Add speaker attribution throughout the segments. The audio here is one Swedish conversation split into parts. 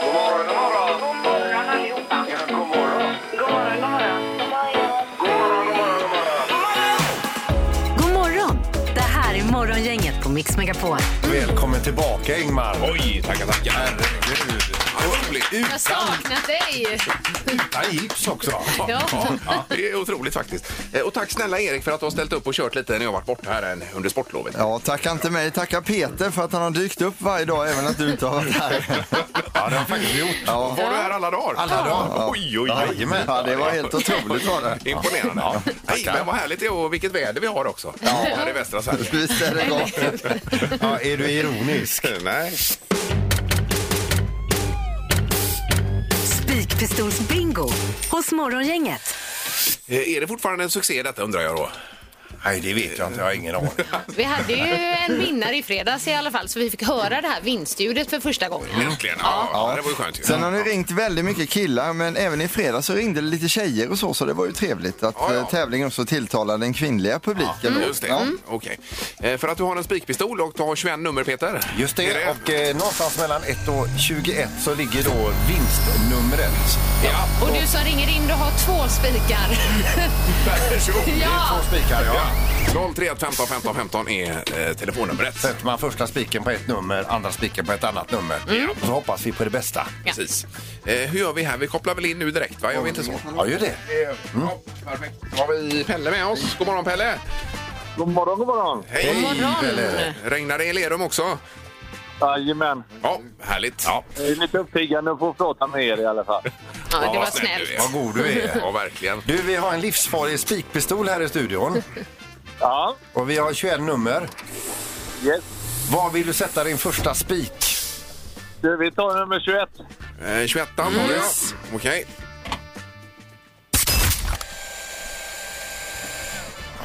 Speaker 1: God morgon, god morgon. God morgon allihopa. Ja, god morgon. God morgon, god morgon. God morgon, god morgon, god morgon.
Speaker 2: God morgon! Det här är Morgongänget på Mix Megapol.
Speaker 3: Välkommen tillbaka Ingmar.
Speaker 4: Oj, tackar, tackar.
Speaker 3: Herregud.
Speaker 5: Jag har
Speaker 3: Utan,
Speaker 5: saknat dig.
Speaker 3: utan gips också.
Speaker 5: Ja.
Speaker 4: Ja, det är otroligt faktiskt. Eh, Och tack snälla Erik för att du har ställt upp och kört lite när jag varit borta här än under sportlovet.
Speaker 6: Ja, tacka inte mig. Tacka Peter för att han har dykt upp varje dag, även att du inte har varit här.
Speaker 3: Ja, det har faktiskt gjort.
Speaker 6: Ja.
Speaker 4: Var du här alla dagar?
Speaker 3: Alla dagar.
Speaker 4: Oj, oj, oj.
Speaker 3: Jajamän.
Speaker 6: Ja, det var helt otroligt var det.
Speaker 4: Imponerande. Ja. Nej, men vad härligt det är och vilket väder vi har också. Ja. Här i västra Sverige.
Speaker 6: Visst är det gott.
Speaker 3: Ja, är du ironisk?
Speaker 4: Nej.
Speaker 2: Spikpistolsbingo hos Morgongänget.
Speaker 4: Eh, Är det fortfarande en succé detta undrar jag då?
Speaker 3: Nej, det vet jag inte. Jag har ingen aning.
Speaker 5: Vi hade ju en vinnare i fredags i alla fall, så vi fick höra det här vinstljudet för första gången.
Speaker 4: Äntligen. Ja, ja. det var ju skönt ju.
Speaker 6: Sen har ni ringt väldigt mycket killar, men även i fredags så ringde det lite tjejer och så, så det var ju trevligt att
Speaker 4: Ja, ja.
Speaker 6: eh, tävlingen också tilltalade den kvinnliga publiken. Mm. då.
Speaker 3: Mm.
Speaker 4: Just det. Okej. Eh, För att du har en spikpistol och du har 21 nummer Peter.
Speaker 3: Just
Speaker 4: Är
Speaker 3: det. Och eh, någonstans mellan 1 och 21 så ligger då vinstnumret.
Speaker 4: Ja,
Speaker 5: Och du som ringer in, du har två spikar.
Speaker 4: per person.
Speaker 5: Ja,
Speaker 3: Två spikar, ja.
Speaker 4: Ja. 031 15 15 15 är eh, telefonnumret.
Speaker 3: Sätter man första spiken på ett nummer, andra spiken på ett annat nummer. Och så hoppas vi på det bästa.
Speaker 4: Precis. Eh, hur gör vi här? Vi kopplar väl in nu direkt, va? Gör vi inte så?
Speaker 3: Ja, ju det.
Speaker 4: Ja, perfekt. Då har vi Pelle med oss. God morgon, Pelle!
Speaker 1: God morgon, god morgon.
Speaker 4: Hej!
Speaker 5: morgon.
Speaker 4: Regnar det i Lerum också?
Speaker 1: Jajamän.
Speaker 4: Ja, härligt. Ja,
Speaker 1: Jag är lite uppiggande att få prata med er i alla fall.
Speaker 5: Ja, det var
Speaker 4: vad snäll
Speaker 5: snällt.
Speaker 4: du är.
Speaker 3: Vad god du är.
Speaker 4: Ja, verkligen.
Speaker 3: Du, vi har en livsfarlig spikpistol här i studion.
Speaker 1: Ja,
Speaker 3: Och vi har 21 nummer.
Speaker 1: yes.
Speaker 3: Var vill du sätta din första spik?
Speaker 1: Du, vi tar nummer 21.
Speaker 4: Eh, 21 var det, ja. Okej.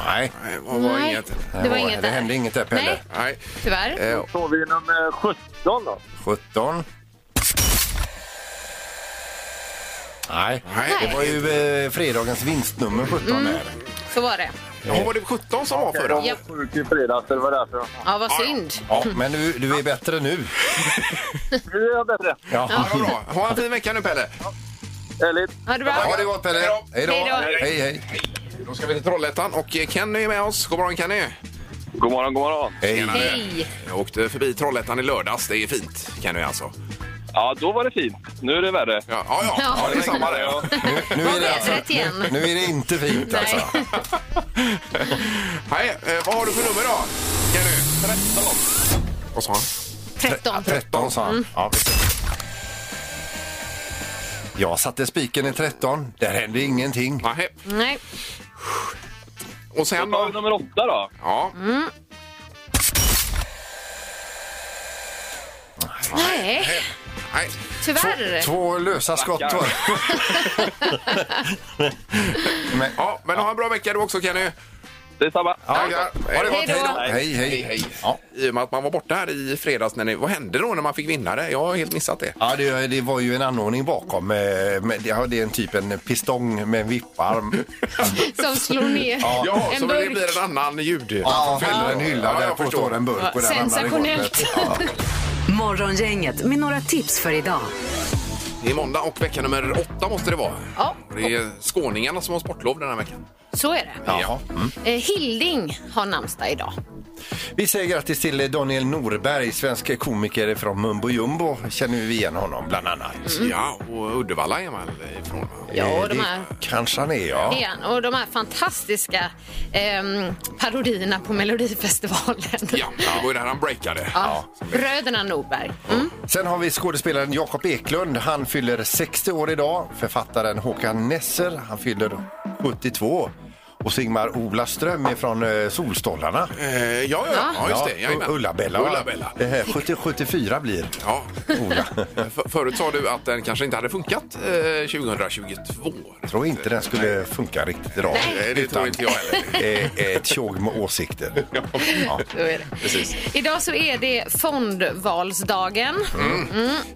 Speaker 3: Nej,
Speaker 4: Nej, vad var
Speaker 5: Nej.
Speaker 4: inget?
Speaker 5: Det var inget
Speaker 3: det hände
Speaker 5: där.
Speaker 3: inget där Pelle.
Speaker 5: Nej.
Speaker 4: Nej.
Speaker 5: Tyvärr.
Speaker 4: Eh,
Speaker 1: Tar vi nummer 17 då?
Speaker 3: 17. Nej.
Speaker 4: nej.
Speaker 3: Det var ju eh, fredagens vinstnummer 17
Speaker 5: Mm.
Speaker 3: där.
Speaker 5: Så var det.
Speaker 4: Ja, var det 17 som var förra?
Speaker 5: Ja.
Speaker 1: Sjuk i fredags, det var därför.
Speaker 5: Ja, vad synd.
Speaker 3: Ja, men du, du är bättre nu.
Speaker 1: Nu är jag bättre.
Speaker 4: Ja, vad bra. Ha en fin vecka nu, Pelle.
Speaker 1: Härligt.
Speaker 5: Ha det bra.
Speaker 3: Ha det gott Pelle. Hej då.
Speaker 5: Hej då.
Speaker 3: Hej, hej.
Speaker 4: Då ska vi till Trollhättan och eh, Kenny är med oss. God morgon, Kenny!
Speaker 1: God morgon, god morgon.
Speaker 3: Hej.
Speaker 5: Hej.
Speaker 4: Jag åkte förbi Trollhättan i lördags. Det är fint, Kenny alltså.
Speaker 1: Ja, då var det fint. Nu är det värre.
Speaker 4: Ja, ja, ja.
Speaker 5: Ja.
Speaker 4: ja det är samma där. Ja.
Speaker 3: Nu
Speaker 5: Var
Speaker 3: är det, alltså,
Speaker 5: vädret igen.
Speaker 3: nu är det inte fint alltså.
Speaker 5: Nej.
Speaker 4: Hej, eh, vad har du för nummer då? Kenny? 13. Vad sa han?
Speaker 5: 13.
Speaker 3: 13 sa han. Ja, visst. jag satte spiken i 13. Där hände ingenting.
Speaker 4: Nej.
Speaker 5: Nej.
Speaker 4: Och sen
Speaker 1: Då tar vi
Speaker 4: då?
Speaker 1: nummer 8 då.
Speaker 4: Ja.
Speaker 5: Nej,
Speaker 4: Nej.
Speaker 5: tyvärr.
Speaker 3: Två lösa skott var Men,
Speaker 4: Ja, men ha en bra vecka du också Kenny.
Speaker 1: Detsamma.
Speaker 4: Tackar. Ha det gott.
Speaker 5: Hej då.
Speaker 4: Hej då.
Speaker 3: hej, hej.
Speaker 4: Hej.
Speaker 3: Ja.
Speaker 4: I och med att man var borta här i fredags, när ni, vad hände då när man fick vinna det? Jag har helt missat det.
Speaker 3: Ja, det, det var ju en anordning bakom. eh, Med, ja, det är en typ en pistong med en vipparm.
Speaker 5: Som slår ner
Speaker 4: Ja, så
Speaker 5: en
Speaker 4: det
Speaker 5: burk.
Speaker 4: blir en annan ljud.
Speaker 3: Ja, fyller en hylla
Speaker 4: Ja, jag
Speaker 3: där på
Speaker 4: förstår.
Speaker 3: står en burk. Och där ramlar det i
Speaker 5: Sensationellt.
Speaker 3: golvet.
Speaker 2: Morgongänget med några tips för idag.
Speaker 4: Det är måndag och vecka nummer åtta måste det vara.
Speaker 5: Ja.
Speaker 4: Och Det är skåningarna som har sportlov den här veckan.
Speaker 5: Så är det.
Speaker 3: Jaha. Mm.
Speaker 5: Eh, Hilding har namnsdag idag.
Speaker 3: Vi säger grattis till Daniel Norberg, svensk komiker från Mumbo Jumbo. Känner vi igen honom bland annat.
Speaker 4: Mm. Ja, och Uddevalla är man väl ifrån? va?
Speaker 5: Ja,
Speaker 3: Eh,
Speaker 5: och de
Speaker 3: det
Speaker 5: här-
Speaker 3: kanske han är, ja.
Speaker 5: Det är han. Och de här fantastiska ehm, parodierna på Melodifestivalen.
Speaker 4: Ja, det var ju där han breakade.
Speaker 5: Ja. Bröderna Norberg. Mm.
Speaker 3: Sen har vi skådespelaren Jakob Eklund. Han fyller 60 år idag. Författaren Håkan Nesser, han fyller 72. Och Sigmar Ola Ström är från eh, Solstollarna.
Speaker 4: Eh, ja, ja, ja, just det.
Speaker 3: Ja,
Speaker 4: jajamän.
Speaker 3: Ulla-Bella. va?
Speaker 4: Ulla-Bella.
Speaker 3: Det här 70, 74 blir
Speaker 4: Ja. Eh,
Speaker 3: Ola.
Speaker 4: För, förut sa du att den kanske inte hade funkat eh, 2022.
Speaker 3: Jag tror inte den skulle funka riktigt idag.
Speaker 4: Nej, det tror inte jag heller.
Speaker 3: Eh, Ett tjog med åsikter. Ja.
Speaker 5: Så är det. Idag så är det fondvalsdagen.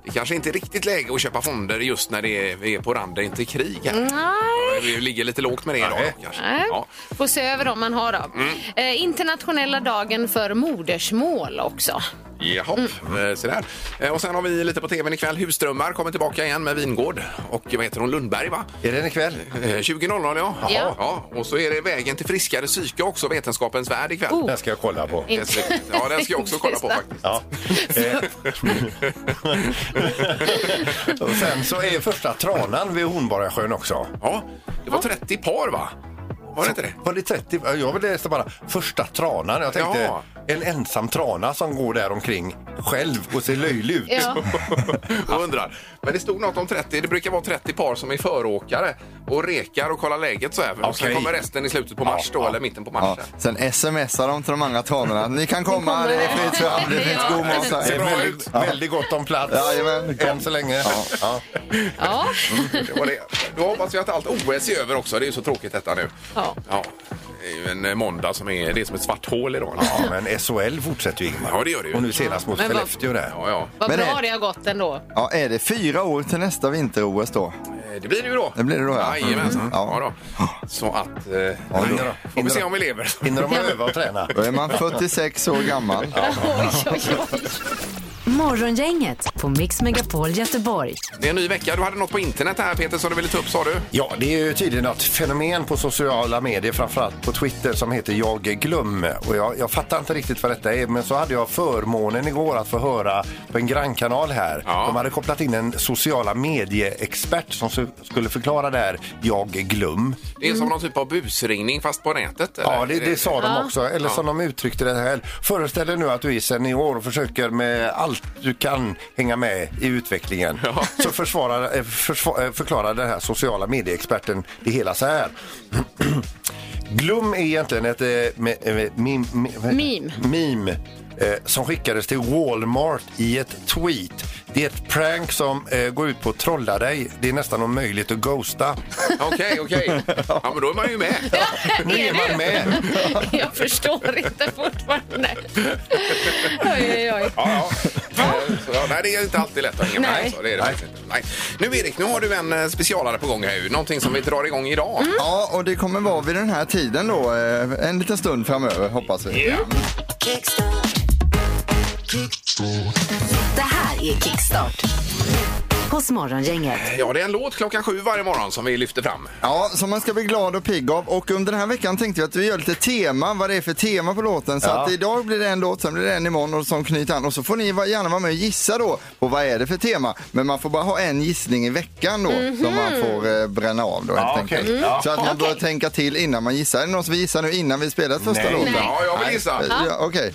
Speaker 4: Det kanske inte är riktigt läge att köpa fonder just när det är, vi är på randen till krig. Här.
Speaker 5: Nej.
Speaker 4: Vi ligger lite lågt med det idag.
Speaker 3: Mm. Nej.
Speaker 4: då, Kanske.
Speaker 5: Mm. Nej.
Speaker 4: Ja.
Speaker 5: Får se över om man har dem. Eh, internationella dagen för modersmål också.
Speaker 4: Jaha,
Speaker 3: Mm.
Speaker 4: eh, se där. Eh, Och sen har vi lite på tvn ikväll. Husdrömmar kommer tillbaka igen med Vingård och vad heter hon? Lundberg va?
Speaker 3: Är den ikväll?
Speaker 4: Eh, 20.00 ja.
Speaker 5: Ja.
Speaker 4: ja. Och så är det Vägen till friskare psyke också, Vetenskapens värld ikväll.
Speaker 5: Oh.
Speaker 3: Den ska jag kolla på.
Speaker 4: Den ska- Ja, den ska jag också kolla på faktiskt.
Speaker 3: Ja. Eh, och sen så är första tranan vid Hornborgasjön också.
Speaker 4: Ja, det var 30 par va? Var det inte det?
Speaker 3: Var det 30? Jag läste bara första tranan. Jag tänkte
Speaker 4: Ja.
Speaker 3: en ensam trana som går där omkring själv och ser löjlig ut.
Speaker 5: Ja.
Speaker 4: Jag undrar. Men det stod något om 30. Det brukar vara 30 par som är föråkare och rekar och kollar läget så här. Och sen
Speaker 3: Okej.
Speaker 4: kommer resten i slutet på
Speaker 3: Ja,
Speaker 4: mars då,
Speaker 3: ja.
Speaker 4: eller mitten på
Speaker 6: Ja,
Speaker 4: mars. Ja.
Speaker 6: sen smsar de till de andra tranorna. Ni kan komma, det är fritt fram, det finns god mat.
Speaker 3: Det är
Speaker 6: här.
Speaker 3: väldigt, väldigt gott om plats
Speaker 6: Jajamän.
Speaker 3: än så länge. Ja.
Speaker 5: ja.
Speaker 4: Det var det. Då hoppas vi att allt OS är över också. Det är ju så tråkigt detta nu.
Speaker 5: Ja.
Speaker 4: Det är ju en eh, måndag som är, det är som ett svart hål idag.
Speaker 3: Ja, men SHL fortsätter ju Ingmar.
Speaker 4: Ja, det gör det ju.
Speaker 3: Och nu senast mot
Speaker 5: Men vad-
Speaker 3: Skellefteå där.
Speaker 4: Ja, ja.
Speaker 5: Vad
Speaker 6: Men
Speaker 5: bra
Speaker 6: det-
Speaker 5: det har gått ändå.
Speaker 6: Ja, är det fyra år till nästa vinter-OS då?
Speaker 4: Eh, Det blir det ju då.
Speaker 6: Det blir det då, ja.
Speaker 4: Jajamensan.
Speaker 6: Mm.
Speaker 4: Ja.
Speaker 6: Ja.
Speaker 4: då. Så att... Eh,
Speaker 6: då.
Speaker 4: får vi se om vi lever.
Speaker 3: Hinner de öva och träna?
Speaker 6: Då är man 46 år gammal.
Speaker 5: Oj, oj, oj.
Speaker 2: Morgongänget på Mix Megapol Göteborg.
Speaker 4: Det är en ny vecka. Du hade något på internet här Peter som du ville ta upp sa du.
Speaker 3: Ja, det är ju tydligen något fenomen på sociala medier, framförallt på Twitter, som heter Jag glöm. Och jag, jag fattar inte riktigt vad detta är, men så hade jag förmånen igår att få höra på en grannkanal här.
Speaker 4: Ja.
Speaker 3: De hade kopplat in en sociala medieexpert som su- skulle förklara det här Jag glöm.
Speaker 4: Det är som någon typ av busringning fast på nätet. eller?
Speaker 3: Ja, det, det sa de också. Eller som de uttryckte det här. Föreställ dig nu att du är senior och försöker med allt du kan hänga med i utvecklingen. Så försvarar, eh, försva- eh, förklarar den här sociala medieexperten det hela så här. Glum är egentligen ett eh, me- eh, mim, mi- vad heter det? meme eh, som skickades till Walmart i ett tweet. Det är ett prank som eh, går ut på att trolla dig. Det är nästan omöjligt att ghosta.
Speaker 4: Eh, Okej, okej. Ja, men då är man ju med.
Speaker 3: Nu är
Speaker 5: det?
Speaker 3: man med.
Speaker 5: Jag förstår inte fortfarande. Oj, oj, oj.
Speaker 4: Ja, ja. Eh, Så, ja, nej, det är inte alltid lätt att hänga med.
Speaker 5: Nej.
Speaker 4: alltså. det är det faktiskt inte. nej. Nu Erik, nu har du en eh, specialare på gång här ju. Någonting som vi drar igång idag.
Speaker 6: Ja, och det kommer vara vid den här tiden då, eh, en liten stund framöver hoppas vi.
Speaker 2: Det här är Kickstart hos Morgongänget.
Speaker 4: Eh, Ja, det är en låt klockan sju varje morgon som vi lyfter fram.
Speaker 6: Ja, som man ska bli glad och pigg av. Och under den här veckan tänkte vi att vi gör lite tema, vad det är för tema på låten. Så att idag blir det en låt, sen blir det en imorgon och som knyter an. Och så får ni va- gärna vara med och gissa då på vad är det för tema. Men man får bara ha en gissning i veckan då som man får eh, bränna av då helt
Speaker 3: Mhm. Ja,
Speaker 6: enkelt.
Speaker 3: okej. Ja.
Speaker 6: Så att man bör tänka till innan man gissar. Är det någon som vill gissa nu innan vi spelat första
Speaker 3: Nej.
Speaker 6: låten?
Speaker 4: Ja, jag vill gissa.
Speaker 6: Eh,
Speaker 4: Ja.
Speaker 6: Ja, Okej.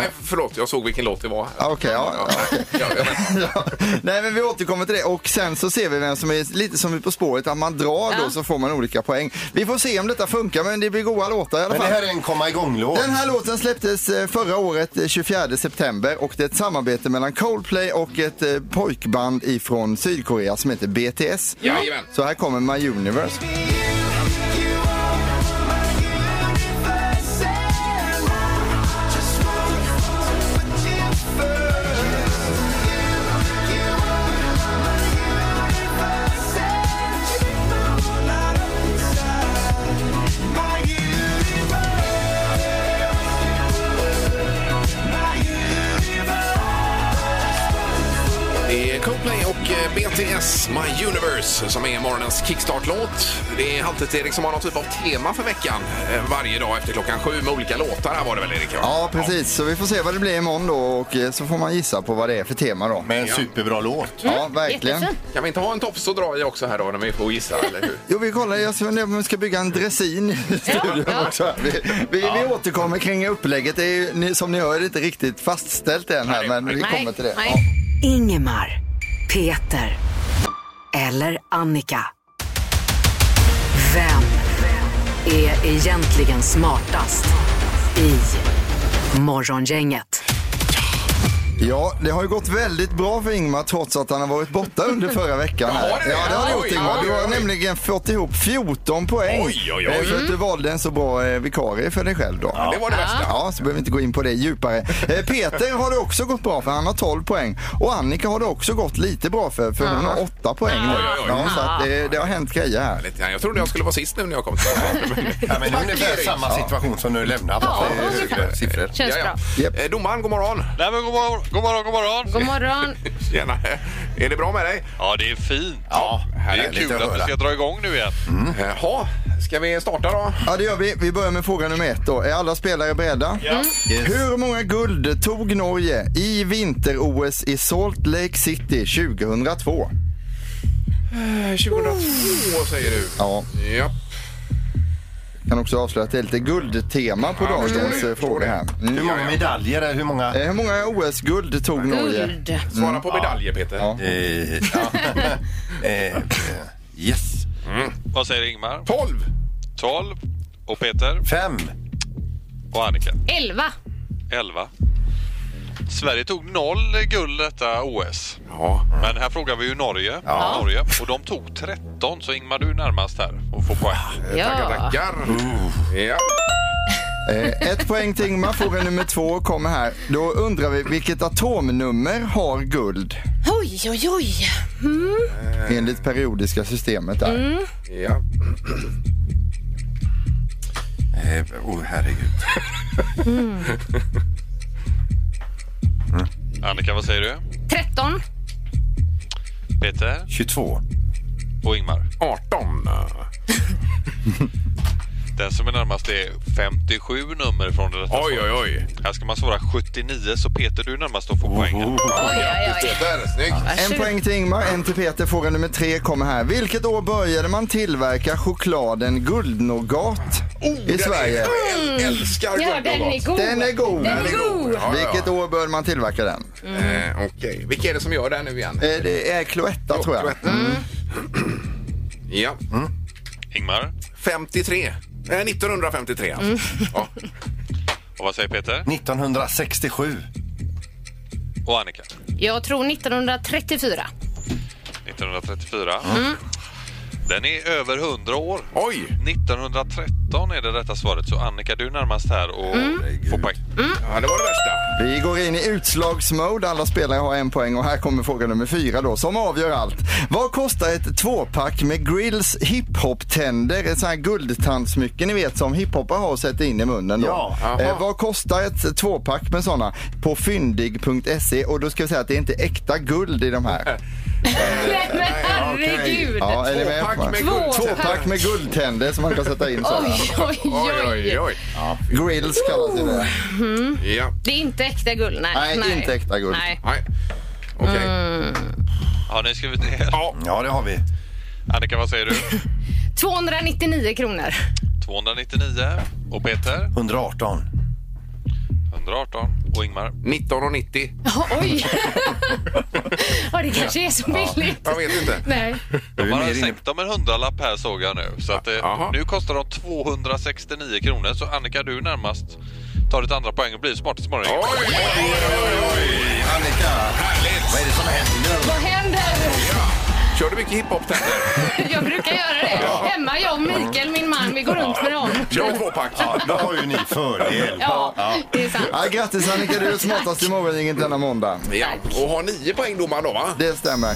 Speaker 4: Nej, förlåt. Jag såg vilken låt det var.
Speaker 6: Ja, Okej, ja.
Speaker 4: Ja, jag vet.
Speaker 6: Ja, Nej men vi återkommer till det och sen så ser vi vem som är lite som är På spåret att man drar då
Speaker 5: Ja.
Speaker 6: så får man olika poäng. Vi får se om detta funkar men det blir goda låtar i alla
Speaker 3: Men det
Speaker 6: fall.
Speaker 3: här är en komma igång-låt.
Speaker 6: Den här låten släpptes eh, förra året eh, 24 september och det är ett samarbete mellan Coldplay och ett eh, pojkband ifrån Sydkorea som heter BTS.
Speaker 4: Jajamän.
Speaker 6: Så här kommer My Universe.
Speaker 4: Det är Coldplay och eh, BTS My Universe som är morgonens kickstart-låt. Det är alltid Erik som har någon typ av tema för veckan eh, varje dag efter klockan sju med olika låtar. Här var det väl Erik? va?
Speaker 6: Ja precis, så vi får se vad det blir imorgon då och eh, så får man gissa på vad det är för tema då.
Speaker 3: Med en superbra låt.
Speaker 6: Ja, verkligen.
Speaker 5: Jättefin.
Speaker 4: Kan vi inte ha en tofs att dra i också här då när vi får gissa? Eller hur?
Speaker 6: Jo, vi kollar. Jag funderar på om vi ska bygga en dressin i studion också. här. Vi, vi, vi återkommer kring upplägget. Det är ju, ni- som ni hör, inte riktigt fastställt än här,
Speaker 4: Nej,
Speaker 6: men vi
Speaker 4: nej.
Speaker 6: kommer till det.
Speaker 5: Nej.
Speaker 2: Ingemar, Peter eller Annika. Vem är egentligen smartast i Morgongänget?
Speaker 6: Ja, det har ju gått väldigt bra för Ingmar trots att han har varit borta under förra veckan. Här.
Speaker 4: Har det det?
Speaker 6: Ja, det har det
Speaker 4: Oj,
Speaker 6: gjort Ingmar.
Speaker 4: oj,
Speaker 6: Du har
Speaker 4: oj.
Speaker 6: nämligen fått ihop 14 poäng.
Speaker 4: Oj, oj, Mm. oj.
Speaker 6: eh, För att du valde en så bra eh, vikarie för dig själv då.
Speaker 4: Det var det värsta.
Speaker 6: Ja, så behöver vi inte gå in på det djupare. Eh, Peter har det också gått bra för han har 12 poäng. Och Annika har det också gått lite bra för, för hon har 8 poäng nu.
Speaker 4: Oj, oj, oj.
Speaker 6: Ja, så att eh, det, det har hänt grejer här.
Speaker 4: Lite grann. Jag trodde jag skulle vara sist nu när jag kom till
Speaker 3: Ja, men det är ungefär
Speaker 4: Erik.
Speaker 3: samma situation som nu lämnat.
Speaker 5: Ja,
Speaker 3: Det är
Speaker 5: ungefär.
Speaker 3: högre siffror.
Speaker 5: Känns bra.
Speaker 6: Japp.
Speaker 4: Eh, Domaren, god morgon.
Speaker 7: Nej men god morgon, god morgon, god morgon.
Speaker 5: God morgon.
Speaker 4: Tjena. Är det bra med dig?
Speaker 7: Ja det är fint.
Speaker 4: Ja,
Speaker 7: det är
Speaker 4: härligt
Speaker 7: kul
Speaker 4: att
Speaker 7: att, vi
Speaker 4: höra.
Speaker 7: ska dra igång nu igen.
Speaker 4: Jaha, ska vi starta då?
Speaker 6: Ja, det gör vi. Vi börjar med fråga nummer ett då. Är alla spelare beredda? Hur många guld tog Norge i vinter-OS i Salt Lake City 2002?
Speaker 4: 2002 Eh, säger du.
Speaker 6: Ja,
Speaker 4: Ja.
Speaker 6: kan också avslöja att det är lite guldtema på
Speaker 4: Ja,
Speaker 6: dagens
Speaker 4: förstår det,
Speaker 6: eh, fråga här. Mm.
Speaker 3: Hur många medaljer är hur många?
Speaker 6: Eh, Hur många OS-guld tog Norge?
Speaker 5: Guld.
Speaker 4: Svara på medaljer, Peter.
Speaker 6: Ja.
Speaker 3: Eh, ja. Eh, eh, yes.
Speaker 7: Vad säger Ingmar?
Speaker 4: 12.
Speaker 7: 12. Och Peter
Speaker 3: Fem.
Speaker 7: och Annika.
Speaker 5: Elva.
Speaker 7: 11. Sverige tog noll guld detta OS.
Speaker 4: Ja.
Speaker 7: Men här frågar vi ju Norge. Norge. Och de tog 13, så Ingmar du är närmast här och får poäng.
Speaker 5: Ja.
Speaker 4: Tackar, tackar. Ja.
Speaker 6: Eh, Ett poäng till Ingmar. Fråga nummer två kommer här. Då undrar vi vilket atomnummer har guld
Speaker 5: Oj, oj, oj. Mm.
Speaker 6: enligt periodiska systemet där?
Speaker 4: ja.
Speaker 3: Eh, oh, herregud.
Speaker 7: Annika, vad säger du?
Speaker 5: 13.
Speaker 7: Peter
Speaker 3: 22.
Speaker 7: och Ingmar.
Speaker 4: 18.
Speaker 7: Den som är närmast är 57 nummer från detta
Speaker 4: Oj,
Speaker 7: svaret.
Speaker 4: oj, oj.
Speaker 7: Här ska man svara 79, så Peter du är närmast och får poängen.
Speaker 4: Grattis, Peter. Snyggt.
Speaker 6: En poäng till Ingmar, en till Peter. Fråga nummer tre kommer här. Vilket år började man tillverka chokladen guldnougat i Sverige?
Speaker 4: Jag älskar
Speaker 5: Ja, den är
Speaker 4: guldnougat.
Speaker 5: god.
Speaker 6: Den är god.
Speaker 5: Den är god.
Speaker 4: Ja, ja.
Speaker 6: Vilket år började man tillverka den?
Speaker 4: Eh, Okej. Vilka är det som gör det här nu igen?
Speaker 6: Eh, Det är Cloetta tror jag. Mm.
Speaker 4: Ja.
Speaker 7: Ingmar,
Speaker 4: 53. Eh, 1953 alltså. Ja.
Speaker 7: och vad säger Peter?
Speaker 3: 1967.
Speaker 7: Och Annika?
Speaker 5: Jag tror 1934.
Speaker 7: 1934. Den är över 100 år.
Speaker 4: Oj!
Speaker 7: 1913 är det rätta svaret, så Annika du är närmast här och får poäng.
Speaker 4: Ja, det var det värsta.
Speaker 6: Vi går in i utslagsmode. Alla spelare har en poäng och här kommer fråga nummer fyra då som avgör allt. Vad kostar ett tvåpack med Grills hiphop-tänder? Ett sånt här guldtandsmycke ni vet som hiphoppare har och sätter in i munnen då.
Speaker 3: Ja,
Speaker 6: eh, vad kostar ett tvåpack med sådana på fyndig.se? E Och då ska vi säga att det är inte äkta guld i de här.
Speaker 5: Nej, men herregud.
Speaker 6: Ja, är ni med?
Speaker 4: Tvåpack med
Speaker 5: Två.
Speaker 4: guld.
Speaker 6: Tvåpack med guldtänder som man kan sätta in sådana.
Speaker 5: Oj, oj,
Speaker 4: Oj, oj,
Speaker 5: oj.
Speaker 4: oj.
Speaker 6: Grills kallas det där.
Speaker 4: Ja.
Speaker 5: Det är inte äkta guld. Nej,
Speaker 6: Nej, inte äkta guld.
Speaker 5: Nej.
Speaker 4: Nej. Okej.
Speaker 7: Har ni skrivit ner?
Speaker 4: Ja.
Speaker 3: Ja, det har vi.
Speaker 7: Annika, vad säger du?
Speaker 5: 299 kronor.
Speaker 7: 299. Och Peter?
Speaker 3: 118.
Speaker 7: 118. Och Ingmar?
Speaker 4: 1990.
Speaker 5: Ja, Oj! ja, det kanske är så billigt.
Speaker 4: Jag vet inte.
Speaker 5: Nej.
Speaker 3: Du är
Speaker 7: Man har
Speaker 3: mer inne
Speaker 7: sänkt dem en hundralapp här såg jag nu. Så att, eh,
Speaker 4: Jaha.
Speaker 7: nu kostar de 269 kronor. Så Annika, du är närmast tar ditt andra poäng och blir smartast imorgon.
Speaker 4: Oj, oj, oj, oj, oj.
Speaker 3: Annika,
Speaker 4: Härligt.
Speaker 3: vad är det som händer?
Speaker 5: Vad händer?
Speaker 4: Kör du mycket hiphop-tänder?
Speaker 5: Jag brukar göra det. Hemma, jag och Mikael, min man, vi går runt med dem.
Speaker 4: Kör tvåpack.
Speaker 3: Ja, då har ju ni fördel.
Speaker 5: Ja, det är sant.
Speaker 6: Ja, grattis Annika, du är smartast i morgongänget denna måndag.
Speaker 4: Ja. Och har nio poäng domaren då, va?
Speaker 6: Det stämmer.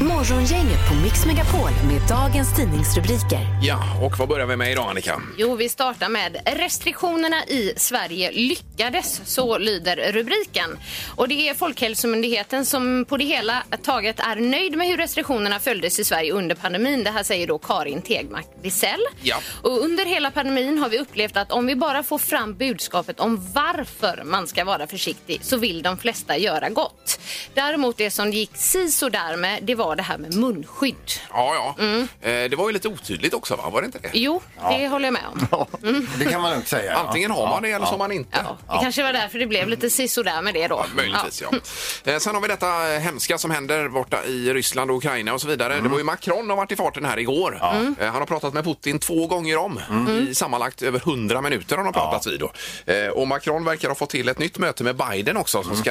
Speaker 2: Morgongänget på Mix Megapol med dagens tidningsrubriker.
Speaker 4: Ja, och vad börjar vi med idag, Annika?
Speaker 5: Jo, vi startar med restriktionerna i Sverige lyckades, så lyder rubriken. Och det är Folkhälsomyndigheten som på det hela taget är nöjd med hur restriktionerna följdes i Sverige under pandemin. Det här säger då Karin Tegmark Wisell.
Speaker 4: Ja.
Speaker 5: Och under hela pandemin har vi upplevt att om vi bara får fram budskapet om varför man ska vara försiktig så vill de flesta göra gott. Däremot det som gick si så där med det var det här här med munskydd.
Speaker 4: Ja, ja. Eh, Det var ju lite otydligt också, va? Var det inte det?
Speaker 5: Jo, det håller jag med om.
Speaker 3: Det kan man lugnt säga. ja.
Speaker 4: Antingen har man det eller så har man inte.
Speaker 5: Ja, det kanske var därför det blev lite sisådär med det då.
Speaker 4: Ja, möjligtvis, ja. Eh, Sen har vi detta hemska som händer borta i Ryssland och Ukraina och så vidare. Det var ju Macron som har varit i farten här igår.
Speaker 5: Mm.
Speaker 4: Eh, Han har pratat med Putin två gånger om. I sammanlagt över 100 minuter har de pratats vid. Då. Eh, Och Macron verkar ha fått till ett nytt möte med Biden också
Speaker 5: Mm.
Speaker 4: som ska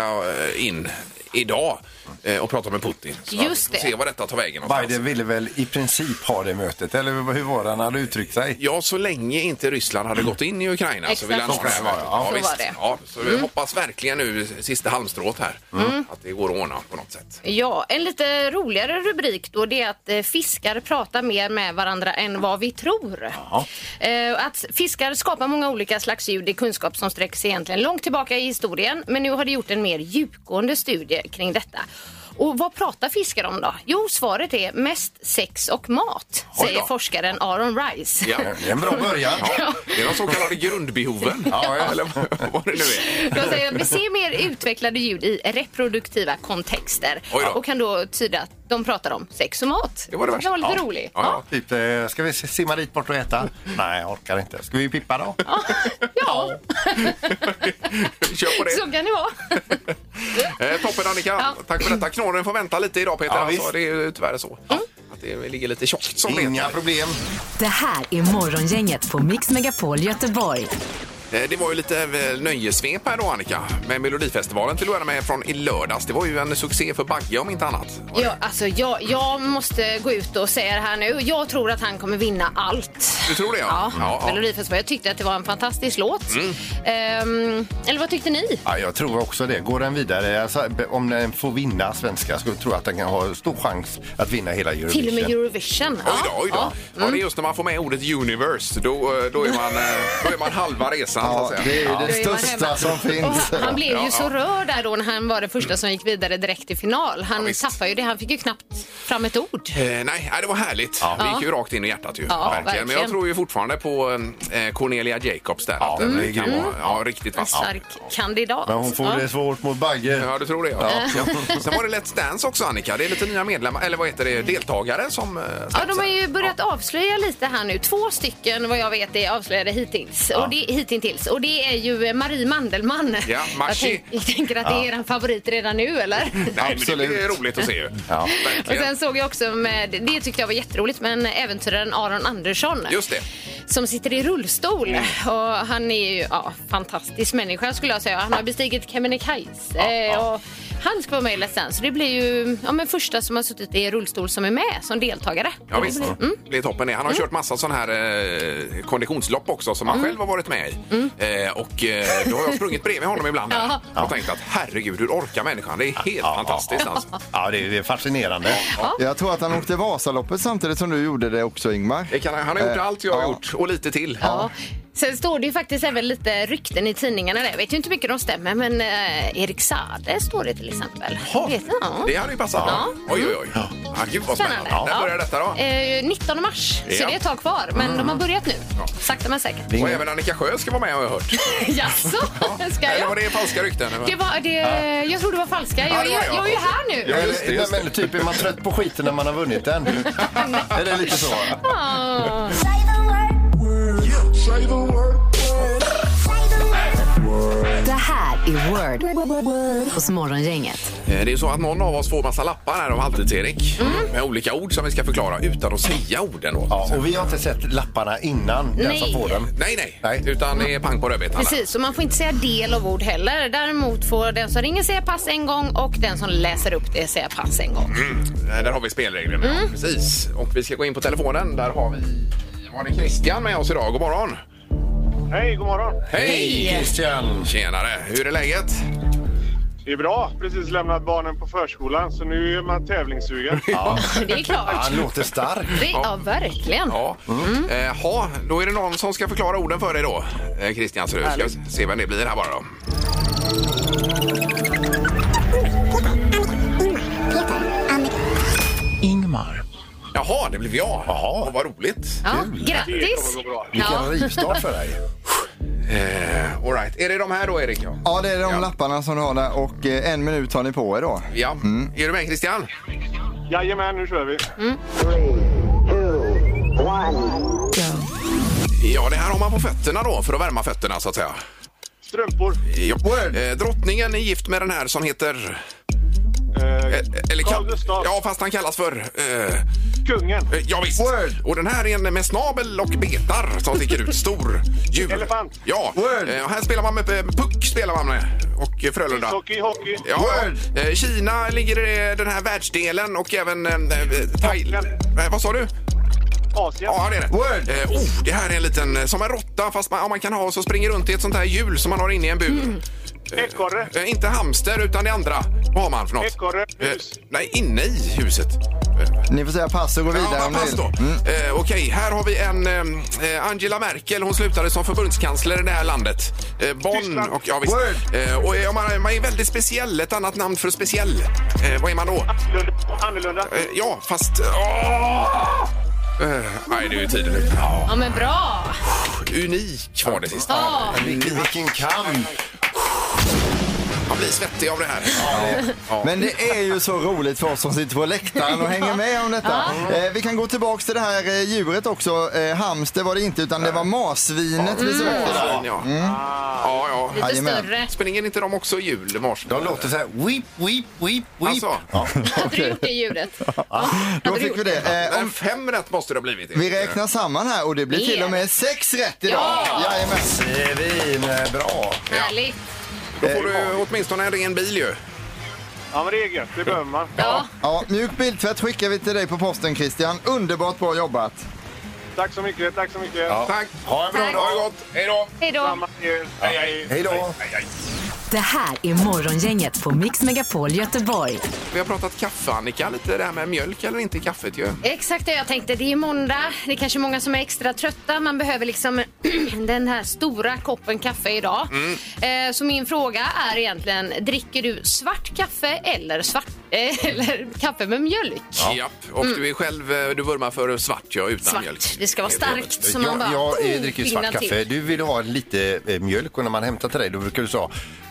Speaker 4: eh, in idag eh, och prata med Putin. Så
Speaker 5: Just
Speaker 4: vi får
Speaker 5: det.
Speaker 4: Se vad detta tar vägen någonstans.
Speaker 3: Biden ville väl i princip ha det mötet, eller hur var det han hade uttryckt sig?
Speaker 4: Ja, så länge inte Ryssland hade gått in i Ukraina så
Speaker 5: Exakt.
Speaker 4: ville han ha det.
Speaker 3: Så var det, ja.
Speaker 5: Så
Speaker 4: visst.
Speaker 5: var det. Mm.
Speaker 4: Ja, så vi hoppas verkligen nu, sista halmstrået här, att det går att ordna på något sätt.
Speaker 5: Ja, en lite roligare rubrik då det är att eh, fiskar pratar mer med varandra än vad vi tror. Eh, Att fiskar skapar många olika slags ljud är kunskap som sträcker sig egentligen långt tillbaka i historien. Men nu har det gjort en mer djupgående studie kring detta. Och vad pratar fiskar om då? Jo, svaret är mest sex och mat,
Speaker 4: Oj då.
Speaker 5: säger forskaren Aaron Rice.
Speaker 4: Ja.
Speaker 3: Det är en bra början.
Speaker 4: Ja, det är de så kallade grundbehoven, ja, eller vad det nu är.
Speaker 5: De säger att vi ser mer utvecklade ljud i reproduktiva kontexter
Speaker 4: Oj då.
Speaker 5: och kan då tyda att de pratar om sex och mat.
Speaker 4: Det var det värsta.
Speaker 5: var lite
Speaker 4: Ja.
Speaker 5: roligt.
Speaker 4: Ja,
Speaker 3: Typ, eh, ska vi simma dit bort och äta? Nej, jag orkar inte. Ska vi pippa då?
Speaker 5: ja,
Speaker 4: ja. Kör på det.
Speaker 5: så kan det vara.
Speaker 4: Eh, toppen Annika,
Speaker 5: Ja.
Speaker 4: tack för detta. Knorren får vänta lite idag Peter,
Speaker 3: Ja,
Speaker 4: alltså,
Speaker 3: visst.
Speaker 4: det är ju tyvärr så. Att det ligger lite tjockt som det
Speaker 3: Inga
Speaker 4: heter.
Speaker 3: problem.
Speaker 2: Det här är Morgongänget på Mix Megapol Göteborg.
Speaker 4: Eh, Det var ju lite eh, nöjessvep här då Annika med Melodifestivalen till att börja med från i lördags. Det var ju en succé för Bagge om inte annat.
Speaker 5: Ja, alltså, jag, jag måste gå ut och säga det här nu. Jag tror att han kommer vinna allt.
Speaker 4: Du tror det
Speaker 5: Ja,
Speaker 4: ja? ja, Mm. ja.
Speaker 5: Melodifestivalen. Jag tyckte att det var en fantastisk låt. Ehm, eller vad tyckte ni?
Speaker 3: Ja, jag tror också det. Går den vidare, alltså, be- om den får vinna svenska, så tror jag att den kan ha stor chans att vinna hela Eurovision.
Speaker 5: Till och med Eurovision.
Speaker 4: Oj då, oj då. Ja, det är just när man får med ordet universe, då, eh, då, är, man, eh, då är man halva resan. så att
Speaker 6: Ja,
Speaker 4: säga.
Speaker 6: det är ju det
Speaker 5: Då är man hemma.
Speaker 6: största som
Speaker 5: Och
Speaker 6: finns.
Speaker 5: han, han blev
Speaker 4: Ja,
Speaker 5: ju så
Speaker 4: ja.
Speaker 5: rörd där då när han var den första som gick vidare direkt till final. Han
Speaker 4: Ja, visst.
Speaker 5: tappade ju det. Han fick ju knappt fram ett ord.
Speaker 4: Eh, nej, nej, det var härligt. Det gick ju rakt in i hjärtat. Ju.
Speaker 5: Ja,
Speaker 4: verkligen. Men jag
Speaker 5: verkligen.
Speaker 4: tror ju fortfarande på eh, Cornelia Jacobs där. att den
Speaker 3: Mm.
Speaker 4: kan
Speaker 3: Mm.
Speaker 4: vara, ja, riktigt
Speaker 5: En
Speaker 4: vass.
Speaker 5: stark kandidat.
Speaker 3: Men hon får
Speaker 5: Ja.
Speaker 3: det svårt mot Bagge.
Speaker 4: Ja, du tror det? Ja. Ja. Sen var det Let's Dance också, Annika. Det är lite nya medlemmar, eller vad heter det, deltagare som... eh,
Speaker 5: Ja,
Speaker 4: släpps
Speaker 5: de har ju
Speaker 4: här.
Speaker 5: börjat avslöja lite här nu. Två stycken vad jag vet är avslöjade hittills. Och det, hittills. Och det är ju eh, Marie Mandelmann.
Speaker 4: Ja,
Speaker 5: jag,
Speaker 4: Marci.
Speaker 5: tänk, jag tänker att det är er favorit redan nu, eller?
Speaker 4: Nej, Absolut. Det är
Speaker 6: Absolut.
Speaker 4: roligt att se ju.
Speaker 3: Ja.
Speaker 5: Och
Speaker 4: Verkligen.
Speaker 5: sen såg jag också, med, det tyckte jag var jätteroligt, men äventyraren Aron Andersson.
Speaker 4: Just det.
Speaker 5: som sitter i rullstol.
Speaker 4: Mm.
Speaker 5: Och han är ju ja, fantastisk människa skulle jag säga. Han har bestigit Kebnekaise. eh, och Han ska vara med i Let's Dance. Så det blir ju ja, men första som har suttit i rullstol som är med som deltagare.
Speaker 4: Ja, visst.
Speaker 5: Mm.
Speaker 4: Det blir toppen det. Han har kört massa sån här eh, konditionslopp också som han
Speaker 5: Mm.
Speaker 4: själv har varit med i. Eh, och eh, då har jag sprungit bredvid honom ibland här. och tänkt att herregud, hur orkar människan? Det är helt fantastiskt alltså.
Speaker 3: Ja, det är, det är fascinerande.
Speaker 6: Jag tror att han åkte Vasaloppet samtidigt som du gjorde det också Ingmar.
Speaker 4: Det kan, han har gjort
Speaker 6: Eh,
Speaker 4: allt jag har
Speaker 6: ja.
Speaker 4: gjort och lite till.
Speaker 5: Ja. Sen står det ju faktiskt även lite rykten i tidningarna. Där. Jag vet ju inte hur mycket de stämmer, men eh, Erik Saade står det till exempel.
Speaker 4: Jaha,
Speaker 5: Vet du? Ja.
Speaker 4: Det hade ju passat.
Speaker 5: Ja.
Speaker 4: Oj, oj, oj. Ah, gud vad spännande. När börjar detta då?
Speaker 5: Eh, 19 mars, så
Speaker 4: Ja. Mm.
Speaker 5: det är ett tag kvar. Men de har börjat nu, sakta men säkert.
Speaker 4: Och även Annika Sjö ska vara med har jag hört.
Speaker 5: Jaså, ska
Speaker 4: Eller
Speaker 5: jag?
Speaker 4: var det falska rykten?
Speaker 5: Det var, det, jag tror det var falska. Jag,
Speaker 4: Ja, det var
Speaker 5: jag,
Speaker 4: jag.
Speaker 5: jag är ju här nu.
Speaker 4: Ja,
Speaker 3: Eller-
Speaker 4: just det, just
Speaker 3: men typ är man trött på skiten när man har vunnit den? är det lite så?
Speaker 5: Ah.
Speaker 2: Det här är Word hos Morgongänget.
Speaker 4: Eh, Det är så att någon av oss får massa lappar här av Halvtids-Erik
Speaker 5: Mm.
Speaker 4: med olika ord som vi ska förklara utan att säga orden. Då.
Speaker 3: Ja, och vi har inte sett lapparna innan den
Speaker 5: Nej.
Speaker 3: som får den.
Speaker 4: Nej, nej,
Speaker 3: Nej.
Speaker 4: Utan det är pang på rödbetan. där.
Speaker 5: Precis, och man får inte säga del av ord heller. Däremot får den som ringer säga pass en gång och den som läser upp det säga pass en gång.
Speaker 4: Eh, Där har vi spelreglerna.
Speaker 5: Mm.
Speaker 4: ja. Precis. Och vi ska gå in på telefonen. Där har vi var det Christian med oss idag. God morgon!
Speaker 8: Hej, god morgon.
Speaker 4: Hej!
Speaker 3: Christian!
Speaker 4: Tjenare! Hur är läget?
Speaker 8: Det är bra. Precis lämnat barnen på förskolan, så nu är man tävlingssugen.
Speaker 5: Det är klart.
Speaker 3: Han låter stark.
Speaker 5: Det, ja, verkligen.
Speaker 4: Ja. Eh, ha, då är det någon som ska förklara orden för dig då. Eh, Christian, så du ska vi se vem det blir här bara då.
Speaker 3: Ingmar.
Speaker 4: Jaha, det blev jag.
Speaker 3: Jaha.
Speaker 4: Åh, vad roligt.
Speaker 5: Ja,
Speaker 8: Det
Speaker 5: grattis!
Speaker 8: kommer gå bra.
Speaker 3: Vilken
Speaker 5: Ja.
Speaker 3: rivstart för dig.
Speaker 4: Eh, all right. Är det de här då, Erik? Ja.
Speaker 6: Ja, det är de
Speaker 4: Ja.
Speaker 6: lapparna som du har där och eh, en minut har ni på er då.
Speaker 4: ja. Är du med, Christian?
Speaker 8: Jajamän, nu kör vi.
Speaker 4: Ja, det här har man på fötterna då för att värma fötterna så att säga.
Speaker 8: Strumpor.
Speaker 4: Ja.
Speaker 6: Word.
Speaker 4: Eh, drottningen är gift med den här som heter...
Speaker 8: Eh,
Speaker 4: eh, Eller
Speaker 8: Carl Gustaf.
Speaker 4: Ja, fast han kallas för... Eh,
Speaker 8: Kungen.
Speaker 4: eh, ja, visst.
Speaker 6: Word.
Speaker 4: Och den här är en med snabel och betar som sticker ut. Stor djur.
Speaker 8: Elefant.
Speaker 4: Ja.
Speaker 6: Word.
Speaker 4: Eh, och här spelar man med eh, puck spelar man med. Och eh, Frölunda.
Speaker 8: Ishockey, hockey.
Speaker 4: Ja,
Speaker 6: Word.
Speaker 4: eh, Kina ligger i den här världsdelen och även eh, Thailand. Eh, vad sa du?
Speaker 8: Asien.
Speaker 4: Ja, det är det.
Speaker 6: Word.
Speaker 4: Eh, oh, det här är en liten, eh, som en råtta fast man, ja, man kan ha som springer runt i ett sånt här hjul som man har inne i en bur.
Speaker 6: Mm.
Speaker 8: Ekorre.
Speaker 4: Eh, inte hamster utan det andra. Vad har man för något? Eh,
Speaker 8: Ekorre. Hus.
Speaker 4: nej, inne i huset. Eh,
Speaker 6: Ni får säga pass och gå vidare
Speaker 4: Ja,
Speaker 6: om ni
Speaker 4: pass
Speaker 6: vill. Mm.
Speaker 4: då. Eh, Okej, här har vi en eh, eh, Angela Merkel. Hon slutade som förbundskansler i det här landet. Eh, Bonn
Speaker 8: Tyskland.
Speaker 4: och ja, visst.
Speaker 6: Word.
Speaker 4: Eh, och är man, man är väldigt speciell. Ett annat namn för speciell. Eh, vad är man då?
Speaker 8: Annorlunda. Annorlunda.
Speaker 4: Eh, ja, fast... Åh! Eh, nej, det är ju tiden nu. Ja,
Speaker 5: Ja, men bra!
Speaker 4: unik var det sista.
Speaker 5: Ja,
Speaker 3: Vilken, vilken kamp!
Speaker 4: Man blir svettig av det här.
Speaker 6: Men det är ju så roligt för oss som sitter på läktaren och hänger med om detta. Eh, vi kan gå tillbaka till det här eh, djuret också. Eh, hamster var det inte utan det var marsvinet
Speaker 4: Mm.
Speaker 6: vi sökte där.
Speaker 4: Ja, ja. ja, ja.
Speaker 5: lite
Speaker 6: Jajamän.
Speaker 5: större.
Speaker 4: Springer inte de också i jul, Mars?
Speaker 3: De låter så här, weep, weep, weep, weep.
Speaker 4: Alltså.
Speaker 3: Ja.
Speaker 5: Hade du gjort det ljudet?
Speaker 6: Då fick vi det. Eh,
Speaker 4: Men
Speaker 6: om
Speaker 4: fem rätt måste det ha blivit.
Speaker 6: vi räknar samman här och det blir till och med sex rätt idag.
Speaker 5: Ja.
Speaker 6: Jajamän.
Speaker 3: Svin, eh, bra.
Speaker 5: Härligt.
Speaker 4: Då får du åtminstone en ren bil ju.
Speaker 8: Ja, men det är gött. Det behöver man.
Speaker 5: Ja.
Speaker 6: Ja, mjuk biltvätt skickar vi till dig på posten Christian. Underbart bra jobbat.
Speaker 8: Tack så mycket. Tack så mycket.
Speaker 4: Tack!
Speaker 3: Ha en bra
Speaker 4: Ha det
Speaker 3: dag.
Speaker 4: gott! Hej då!
Speaker 5: Hej då.
Speaker 8: Samma till er.
Speaker 4: Hej, hej.
Speaker 3: Hej då.
Speaker 4: Hej, hej.
Speaker 2: Det här är Morgongänget på Mix Megapol Göteborg.
Speaker 4: Vi har pratat kaffe, Annika, lite det här med mjölk eller inte i kaffet ju.
Speaker 5: Exakt det jag tänkte. Det är måndag. Det är kanske många som är extra trötta. Man behöver liksom den här stora koppen kaffe idag.
Speaker 3: Mm.
Speaker 5: Eh, så min fråga är egentligen, dricker du svart kaffe eller, svart, eh, eller kaffe med mjölk?
Speaker 4: Ja. Och du är själv, eh, du vurmar för svart ja, utan
Speaker 5: Svart.
Speaker 4: mjölk.
Speaker 5: Det ska vara starkt. Så man
Speaker 3: jag,
Speaker 5: bara,
Speaker 3: jag eh,
Speaker 5: oh,
Speaker 3: dricker ju
Speaker 5: piggnar
Speaker 3: svart
Speaker 5: till.
Speaker 3: kaffe. Du vill ha lite eh, mjölk och när man hämtar till dig då brukar du så,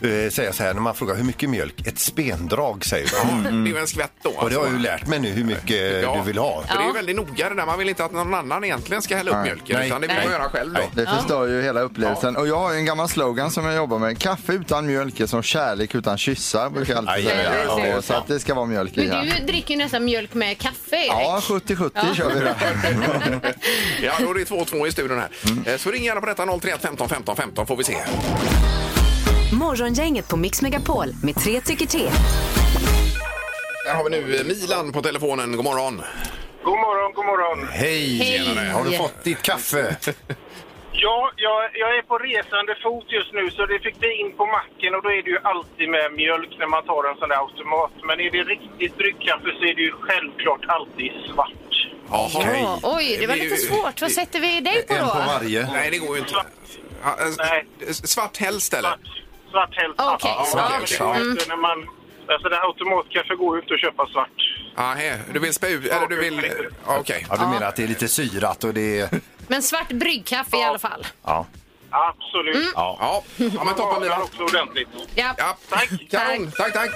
Speaker 3: eh, säga så här när man frågar hur mycket mjölk? Ett spendrag säger du.
Speaker 4: Ja, Det är ju en skvätt då.
Speaker 3: Och Mm. det har
Speaker 4: alltså.
Speaker 3: jag ju lärt mig nu hur mycket
Speaker 4: Mm.
Speaker 3: eh,
Speaker 4: Ja.
Speaker 3: du vill ha.
Speaker 4: För Det är ju väldigt noga det där. Man vill inte att någon annan egentligen ska hälla upp mjölken
Speaker 3: Nej.
Speaker 4: utan det vill man
Speaker 3: Nej.
Speaker 4: göra själv då.
Speaker 3: Nej.
Speaker 6: Det förstör ju hela upplevelsen. Och jag har ju en gammal slogan som jag jobbar med. Kaffe utan mjölk är som kärlek utan kyssar brukar jag alltid
Speaker 3: Aj, aj,
Speaker 6: säga.
Speaker 3: aj,
Speaker 6: Ja,
Speaker 3: aj, aj.
Speaker 6: Så att det ska vara mjölk i
Speaker 5: Men
Speaker 6: här.
Speaker 5: du dricker ju nästan mjölk med kaffe, Erik.
Speaker 6: Ja, 70-70 kör vi där.
Speaker 4: Ja, då är det 2-2 i studion här.
Speaker 3: Mm.
Speaker 4: Eh, Så ring gärna på detta 031 15 15 15 får vi se.
Speaker 2: Morgongänget på Mix Megapol med tre tycker till.
Speaker 4: Där har vi nu eh, Milan på telefonen. God morgon.
Speaker 8: God morgon, god morgon.
Speaker 3: Hej!
Speaker 5: Hej.
Speaker 3: Har du fått ditt kaffe?
Speaker 8: Ja, jag, jag är på resande fot just nu så det fick vi in på macken och då är det ju alltid med mjölk när man tar en sån där automat. Men är det riktigt bryggkaffe så är det ju självklart alltid svart.
Speaker 4: Jaha.
Speaker 5: Ja, oj, det var lite svårt. Vad sätter vi dig på
Speaker 3: En på
Speaker 5: då?
Speaker 3: varje.
Speaker 4: Nej, det går ju inte.
Speaker 8: Svart.
Speaker 4: Ja, eh, s-
Speaker 8: Nej.
Speaker 4: Svart helst eller?
Speaker 8: Svart, svart helst.
Speaker 5: Okej, Mm.
Speaker 8: Ja,
Speaker 5: svart.
Speaker 8: men det går inte när man... Alltså det här automatkaffe går ju inte att köpa svart.
Speaker 4: Ah, du vill spä ut? Eller du vill... Ja, Okej.
Speaker 3: Ja, du menar att det är lite syrat och det är...
Speaker 5: Men svart bryggkaffe i alla fall.
Speaker 3: Ja.
Speaker 8: Absolut.
Speaker 5: Mm.
Speaker 4: Ja. ja, men toppen
Speaker 8: Man
Speaker 4: Milan.
Speaker 8: också ordentligt.
Speaker 5: Ja.
Speaker 4: Ja.
Speaker 8: Tack.
Speaker 4: Kanon. Tack, tack.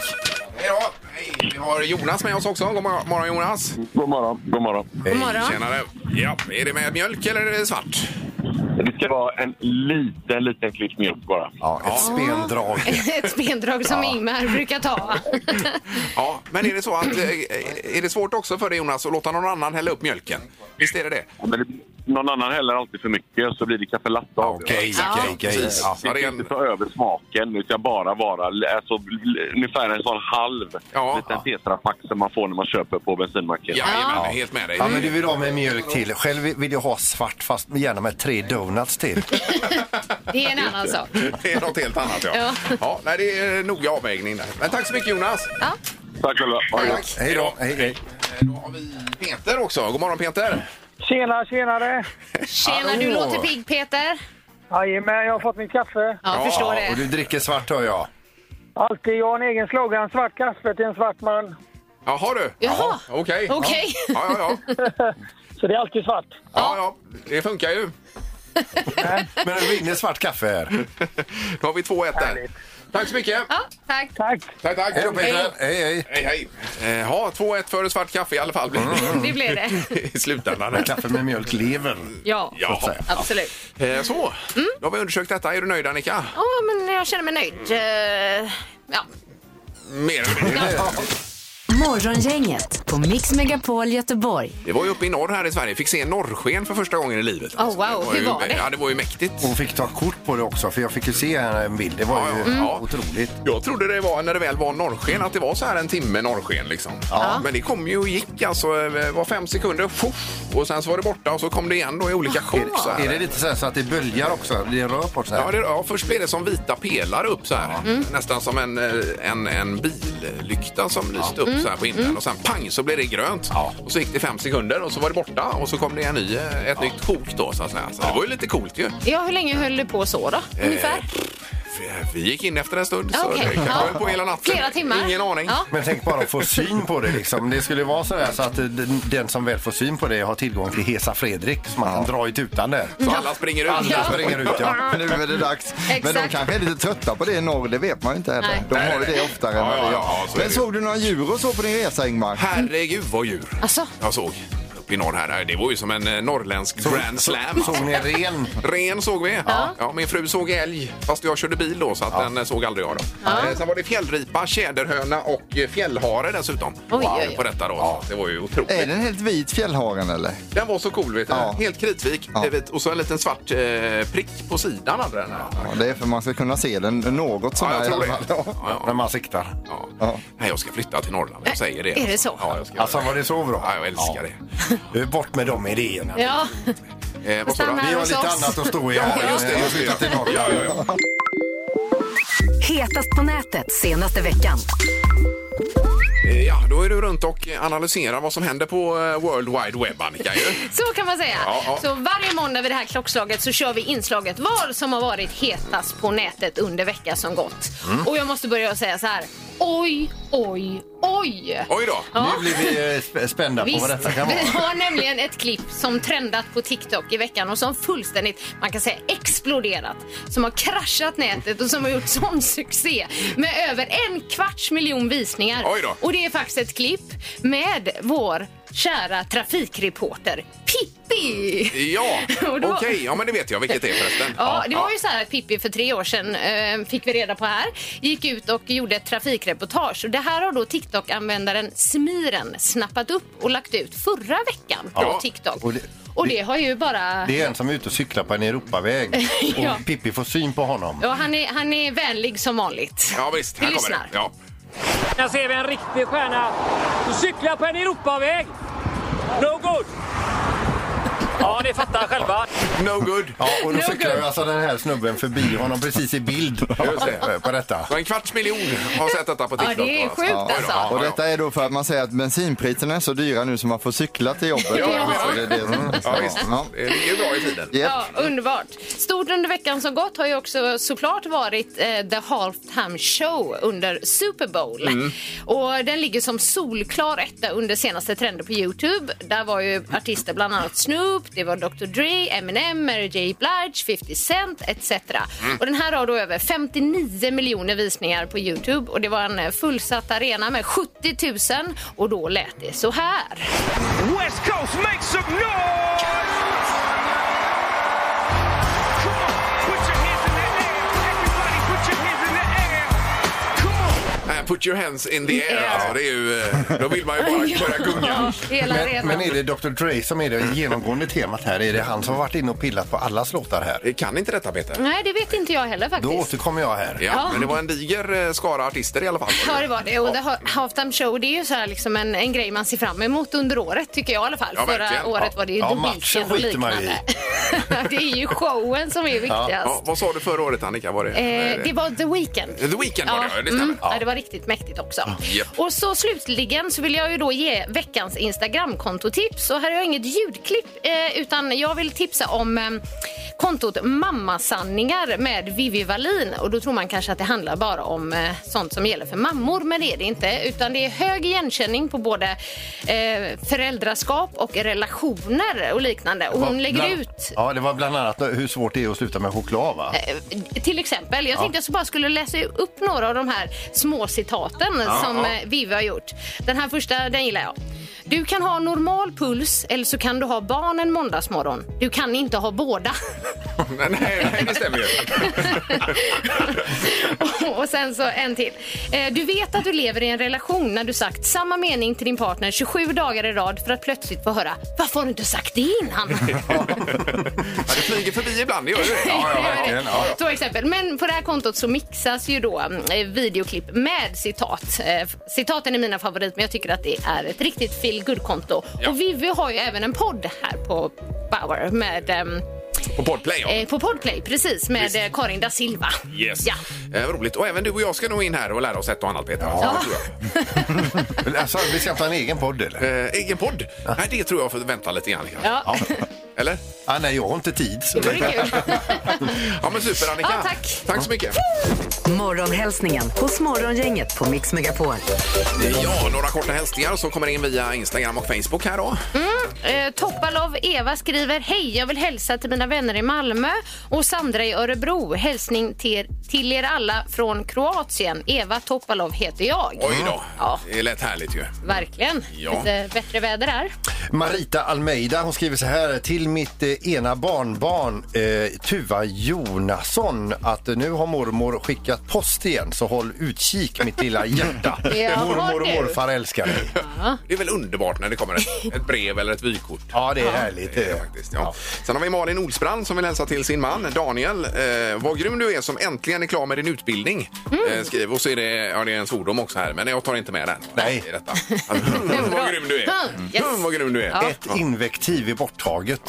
Speaker 4: Hej då. Hej. Vi har Jonas med oss också. God mor- morgon Jonas.
Speaker 9: God morgon, god morgon.
Speaker 5: God morgon.
Speaker 4: Tjenare. Ja, är det med mjölk eller är det svart?
Speaker 9: Det ska vara en liten, liten klick mjölk bara.
Speaker 3: Ja, ett spendrag.
Speaker 5: Ett spendrag som Ingmar brukar ta.
Speaker 4: Ja, men är det så att eh, är det svårt också för dig Jonas att låta någon annan hälla upp mjölken? Visst är det det?
Speaker 9: Men det, någon annan häller alltid för mycket så blir det kaffe latte av det.
Speaker 3: Okej, okej, okej.
Speaker 4: Precis.
Speaker 3: Ja.
Speaker 4: Ja,
Speaker 9: Det
Speaker 4: det är
Speaker 9: ska inte
Speaker 4: en,
Speaker 9: ta över smaken. Det ska bara vara l- alltså, l- ungefär en sån halv
Speaker 4: Ja.
Speaker 9: liten tetrapack som man får när man köper på bensinmacken.
Speaker 4: ja, jajamän, helt med dig.
Speaker 3: Ja, men du vill ha med mjölk till. Själv vill jag ha svart fast gärna med tre donuts till.
Speaker 5: Det är en annan sak.
Speaker 4: Det är något helt annat ja. ja.
Speaker 5: Ja.
Speaker 4: nej, det är noga avvägning där. Men tack så mycket Jonas.
Speaker 5: Ja.
Speaker 9: Tack själva. Ha det gott.
Speaker 3: Hej då. Hej, hej.
Speaker 4: Eh, Då har vi Peter också. God morgon Peter.
Speaker 10: Tjena, tjenare!
Speaker 5: Tjena,
Speaker 3: Hallå.
Speaker 5: du låter pigg Peter.
Speaker 10: Jajamän, jag har fått mitt kaffe.
Speaker 5: Ja, förstår
Speaker 3: Och
Speaker 5: det.
Speaker 3: du dricker svart hör jag.
Speaker 10: Alltid, jag har en egen slogan, svart kaffe till en svart man.
Speaker 4: Jaha du.
Speaker 5: Jaha.
Speaker 4: Okej.
Speaker 5: Okej.
Speaker 4: Ja, ja, ja.
Speaker 10: Så det är alltid svart.
Speaker 4: ja, ja. Det funkar ju.
Speaker 3: Men du vinner svart kaffe här.
Speaker 4: Då har vi 2-1 där.
Speaker 10: Härligt.
Speaker 4: Tack så mycket.
Speaker 5: Ja, tack.
Speaker 10: Tack!
Speaker 4: Tack, tack.
Speaker 3: Hej då Peter! Hej hej!
Speaker 4: Hej, hej. Eh, Ja, 2-1 för svart kaffe i alla fall
Speaker 3: Mm,
Speaker 4: blir
Speaker 5: Det blev det.
Speaker 4: det i slutändan. här.
Speaker 3: Kaffe med mjölk lever.
Speaker 5: Ja,
Speaker 4: Ja.
Speaker 5: absolut.
Speaker 4: Eh, Så,
Speaker 5: Mm.
Speaker 4: då har vi undersökt detta. Är du nöjd Annika?
Speaker 5: Ja, men jag känner mig nöjd. Eh, Ja,
Speaker 4: Mer eller mindre.
Speaker 2: Morgongänget på Mix Megapol Göteborg.
Speaker 4: Det var ju uppe i norr här i Sverige. Fick se norrsken för första gången i livet.
Speaker 5: Oh, wow.
Speaker 4: ju,
Speaker 5: Hur var det?
Speaker 4: Ja, det var ju mäktigt.
Speaker 3: Hon fick ta kort på det också för jag fick ju se här en bild. Det var
Speaker 4: Ja,
Speaker 3: ju
Speaker 4: ja. Mm.
Speaker 3: otroligt.
Speaker 4: Jag trodde det var när det väl var norrsken att det var så här en timme norrsken liksom. Men det kom ju och gick alltså. Det var fem sekunder fuff, och sen så var det borta och så kom det igen då i olika sjok så
Speaker 3: Är det
Speaker 4: här.
Speaker 3: lite så, här så att det böljar också? Det rör på sig?
Speaker 4: Ja, det, ja, först blev det som vita pelare upp så här.
Speaker 5: Mm.
Speaker 4: Nästan som en, eh, en, en billykta som lyste upp
Speaker 5: Mm.
Speaker 4: så här på innan. Och sen pang så blev det grönt. Och så gick det fem sekunder och så var det borta. Och så kom det en ny, eh, ett nytt sjok då så att säga. Så det var ju lite coolt ju.
Speaker 5: ja hur länge höll du på så då?
Speaker 4: Eh,
Speaker 5: Ungefär?
Speaker 4: Vi- Vi gick in efter en stund. Så
Speaker 5: Okej,
Speaker 4: det kan
Speaker 5: ja.
Speaker 4: vara på hela natten.
Speaker 5: Flera timmar?
Speaker 4: Ingen aning.
Speaker 5: Ja.
Speaker 3: Men tänk bara att få syn på det liksom. Det skulle vara så, där så att den, den som väl får syn på det har tillgång till Hesa Fredrik som man kan dra i tutan där.
Speaker 4: Så alla springer ut.
Speaker 3: Alla springer ut ja.
Speaker 6: Men nu är det dags. Men de
Speaker 5: Exakt.
Speaker 6: kanske är lite trötta på det i norr, det vet man ju inte heller.
Speaker 5: Nej.
Speaker 6: De har ju det oftare än
Speaker 4: Ja,
Speaker 6: vad vi gör.
Speaker 4: ja, ja, så är
Speaker 6: Men
Speaker 4: det
Speaker 6: såg du några djur och så på din resa Ingmar?
Speaker 4: Herregud vad djur
Speaker 5: Alltså?
Speaker 4: jag såg uppe i norr här. Det var ju som en eh, norrländsk grand slam.
Speaker 3: Såg ni en ren?
Speaker 4: Ren såg vi. Ja. min fru såg älg, fast jag körde bil då så att den eh, såg aldrig jag. Då. Eh, Sen var det fjällripa, tjäderhöna och eh, fjällhare dessutom.
Speaker 5: oj, oj.
Speaker 4: På detta då. Det var ju otroligt.
Speaker 6: Är den helt vit fjällharen eller?
Speaker 4: Den var så cool, vet du.
Speaker 6: Eh. Ja.
Speaker 4: Helt kritvit
Speaker 6: Ja.
Speaker 4: eh, vet, och så en liten svart eh, prick på sidan hade den. Här.
Speaker 6: Ja, det är för man ska kunna se den något
Speaker 4: Ja,
Speaker 6: sådär.
Speaker 4: jag tror
Speaker 6: i
Speaker 4: det.
Speaker 6: alla fall.
Speaker 4: Ja, ja,
Speaker 3: När man siktar.
Speaker 4: ja.
Speaker 6: Ja.
Speaker 4: Nej, jag ska flytta till Norrland. Jag säger det.
Speaker 5: Är det så?
Speaker 4: Ja, jag ska göra
Speaker 3: Alltså var det så
Speaker 4: Ja,
Speaker 3: bra?
Speaker 4: jag älskar det.
Speaker 3: det. Bort med de idéerna.
Speaker 5: Ja,
Speaker 4: Eh, vad sa du?
Speaker 5: Stanna
Speaker 3: Vi har
Speaker 5: hos
Speaker 3: lite
Speaker 5: oss.
Speaker 3: annat att stå i
Speaker 4: Ja,
Speaker 3: här.
Speaker 4: just det. Just det.
Speaker 3: Flyttat till Norge.
Speaker 4: Ja, ja, ja.
Speaker 2: Hetast på nätet senaste veckan.
Speaker 4: Eh, Ja, då är du runt och analyserar vad som händer på eh, World Wide Web, Annika. Ju.
Speaker 5: så kan man säga.
Speaker 4: Ja, ja.
Speaker 5: Så varje måndag vid det här klockslaget så kör vi inslaget Vad som har varit hetast på nätet under veckan som gått.
Speaker 4: Mm.
Speaker 5: Och jag måste börja säga så här. Oj, oj, oj.
Speaker 4: Oj då!
Speaker 5: Ja.
Speaker 3: Nu blir vi eh, sp- spända på vad detta kan vara.
Speaker 5: vi har nämligen ett klipp som trendat på TikTok i veckan och som fullständigt, man kan säga exploderat. Som har kraschat nätet och som har gjort sån succé med över en kvarts miljon visningar.
Speaker 4: Oj då.
Speaker 5: Och det är faktiskt ett klipp med vår kära trafikreporter Pippi.
Speaker 4: Ja,
Speaker 5: Och
Speaker 4: okej.
Speaker 5: då-
Speaker 4: Ja, men det vet jag vilket det är förresten.
Speaker 5: Ja, det var ju så här att Pippi för tre år sedan, eh, fick vi reda på här, gick ut och gjorde ett trafikreportage. Och det här har då TikTok-användaren Smiren snappat upp och lagt ut förra veckan på
Speaker 4: Ja.
Speaker 5: TikTok.
Speaker 3: Och
Speaker 5: Och
Speaker 3: det-
Speaker 5: det, har ju bara...
Speaker 3: Det är en som är ute och cyklar på en Europaväg
Speaker 5: Ja.
Speaker 3: och Pippi får syn på honom.
Speaker 5: Ja, han, är, han är vänlig som vanligt.
Speaker 4: Ja, visst.
Speaker 5: Vi
Speaker 4: Här kommer det.
Speaker 5: lyssnar.
Speaker 4: Ja.
Speaker 10: Här ser vi en riktig stjärna. Du cyklar på en Europaväg. No good! Ja, ni fattar själva.
Speaker 4: No good.
Speaker 3: Ja, och då
Speaker 5: No
Speaker 3: cyklar ju
Speaker 5: good.
Speaker 3: alltså den här snubben förbi honom precis i bild
Speaker 4: det.
Speaker 3: på detta.
Speaker 4: Så en kvarts miljon har sett detta på
Speaker 5: Ja,
Speaker 4: TikTok.
Speaker 5: det är
Speaker 4: då,
Speaker 5: sjukt
Speaker 4: Oj då.
Speaker 5: alltså.
Speaker 6: Och detta är då för att man säger att bensinpriserna är så dyra nu så man får cykla till jobbet.
Speaker 4: Ja, ja,
Speaker 6: Alltså, det är det som-
Speaker 4: Ja, visst.
Speaker 6: Ja.
Speaker 4: Det ligger ju bra i tiden.
Speaker 6: Japp.
Speaker 5: Ja, underbart. Stort under veckan som gått har ju också såklart varit eh, The Halftime Show under Super Bowl.
Speaker 3: Mm.
Speaker 5: Och den ligger som solklar etta under senaste trender på Youtube. Där var ju artister bland annat Snoop, det var Dr Dre, Eminem, Mary J Blige, 50 Cent etc.
Speaker 3: Mm.
Speaker 5: Och den här har då över 59 miljoner visningar på Youtube och det var en eh, fullsatt arena med 70 000 och då lät det så här.
Speaker 1: West Coast, make some noise! Come on, put your hands in the air. Everybody, put your hands in the air. Come on.
Speaker 4: Eh, Put your hands in the air.
Speaker 5: Yeah.
Speaker 4: Alltså, det är ju, eh, då vill man ju bara börja gunga.
Speaker 5: Hela
Speaker 3: Men,
Speaker 5: arenan.
Speaker 3: men är det Dr Dre som är det genomgående temat här? Är det han som har varit inne och pillat på allas låtar här?
Speaker 4: Eh, Kan inte detta, Peter?
Speaker 5: Nej, det vet inte jag heller
Speaker 3: Då
Speaker 5: faktiskt.
Speaker 3: återkommer jag här.
Speaker 4: Ja,
Speaker 5: Ja.
Speaker 4: Men det var en diger eh, skara artister i alla fall.
Speaker 5: Ja, det var det. Och The Ha- Halftime Show det är ju så här liksom en, en grej man ser fram emot under året, tycker jag i alla fall.
Speaker 4: Ja,
Speaker 5: Förra
Speaker 4: verkligen.
Speaker 5: året var det ju
Speaker 3: Ja,
Speaker 5: ja,
Speaker 3: matchen
Speaker 5: Dominiken och
Speaker 3: skiter man ju i.
Speaker 5: liknande. det är ju showen som är viktigast.
Speaker 4: Ja, vad sa du förra året, Annika? Var det?
Speaker 5: Eh, det var The Weeknd.
Speaker 4: The Weeknd var det, ja, det stämmer.
Speaker 5: Mm,
Speaker 4: Ja.
Speaker 5: ja. det var riktigt mäktigt också.
Speaker 4: Japp.
Speaker 5: Och så slutligen så vill jag ju då ge veckans Instagramkontotips. Och här har jag inget ljudklipp eh, utan jag vill tipsa om eh, kontot Mammasanningar med Vivi Wallin. Och då tror man kanske att det handlar bara om eh, sånt som gäller för mammor, men det är det inte. Utan det är hög igenkänning på både eh, föräldraskap och relationer och liknande. Och hon lägger
Speaker 3: Bland-
Speaker 5: ut
Speaker 3: Ja, det var bland annat hur svårt det är att sluta med choklad va?
Speaker 5: Eh, Till exempel. Jag tänkte att jag bara skulle läsa upp några av de här små citaten som
Speaker 3: ja.
Speaker 5: eh, Vivi har gjort. Den här första, den gillar jag. Du kan ha normal puls eller så kan du ha barn en måndagsmorgon. Du kan inte ha båda.
Speaker 4: Nej, nej, nej, det stämmer ju.
Speaker 5: Och- Och sen så en till. Eh, Du vet att du lever i en relation när du sagt samma mening till din partner 27 dagar i rad för att plötsligt få höra varför har du inte sagt det innan?
Speaker 4: Ja, det flyger förbi ibland, det gör ju det.
Speaker 3: verkligen. Ja, ja.
Speaker 5: Två exempel. Men på det här kontot så mixas ju då eh, videoklipp med citat. Eh, f- Citaten är mina favorit men jag tycker att det är ett riktigt feel good konto
Speaker 4: Ja.
Speaker 5: Och Vivi har ju även en podd här på Bauer med ehm,
Speaker 4: På Podplay, ja.
Speaker 5: eh, på Podplay, precis, med eh, Karin da Silva.
Speaker 4: Yes.
Speaker 5: Ja.
Speaker 4: Eh, roligt. Och även du och jag ska nog in här och lära oss ett och annat, Peter. Ja. Tror jag.
Speaker 3: Alltså, vi ska ta en egen podd eller?
Speaker 4: Eh, egen podd? Nej, det tror jag får vänta lite grann. kanske.
Speaker 5: Ja.
Speaker 4: Eller?
Speaker 3: Ah, nej, jag har inte tid. Så.
Speaker 5: Det vore kul.
Speaker 4: Ja, men super, Annika.
Speaker 5: Ja, tack.
Speaker 4: Tack så mycket.
Speaker 2: Morgonhälsningen hos Morgongänget på Mix Megapol.
Speaker 4: Ja, några korta hälsningar som kommer in via Instagram och Facebook här då.
Speaker 5: Eh, Toppalov Eva skriver Hej, jag vill hälsa till mina vänner i Malmö och Sandra i Örebro. Hälsning till, till er alla från Kroatien. Eva Toppalov heter jag.
Speaker 4: Oj då.
Speaker 5: Ja.
Speaker 4: Det lät härligt ju.
Speaker 5: Verkligen.
Speaker 4: Ja.
Speaker 5: Lite bättre väder här.
Speaker 3: Marita Almeida hon skriver så här till mitt eh, ena barnbarn eh, Tuva Jonasson att eh, nu har mormor skickat post igen så håll utkik mitt lilla hjärta.
Speaker 5: Ja,
Speaker 3: mormor och
Speaker 5: du.
Speaker 3: morfar älskar dig.
Speaker 4: Det är väl underbart när det kommer ett, ett brev eller ett vykort.
Speaker 3: Ja, det är härligt.
Speaker 4: Det är det
Speaker 3: eh.
Speaker 4: faktiskt, ja. Sen har vi Malin Olsbrand som vill hälsa till sin man Daniel. Eh, vad grym du är som äntligen är klar med din utbildning. Eh, skriv. Och så är det, ja, det är en svordom också här, men jag tar inte med den.
Speaker 3: Nej.
Speaker 4: I detta. Mm, vad grym du är.
Speaker 5: Mm, yes.
Speaker 4: Mm, vad grym du är. Ja.
Speaker 3: Ett invektiv är borttaget.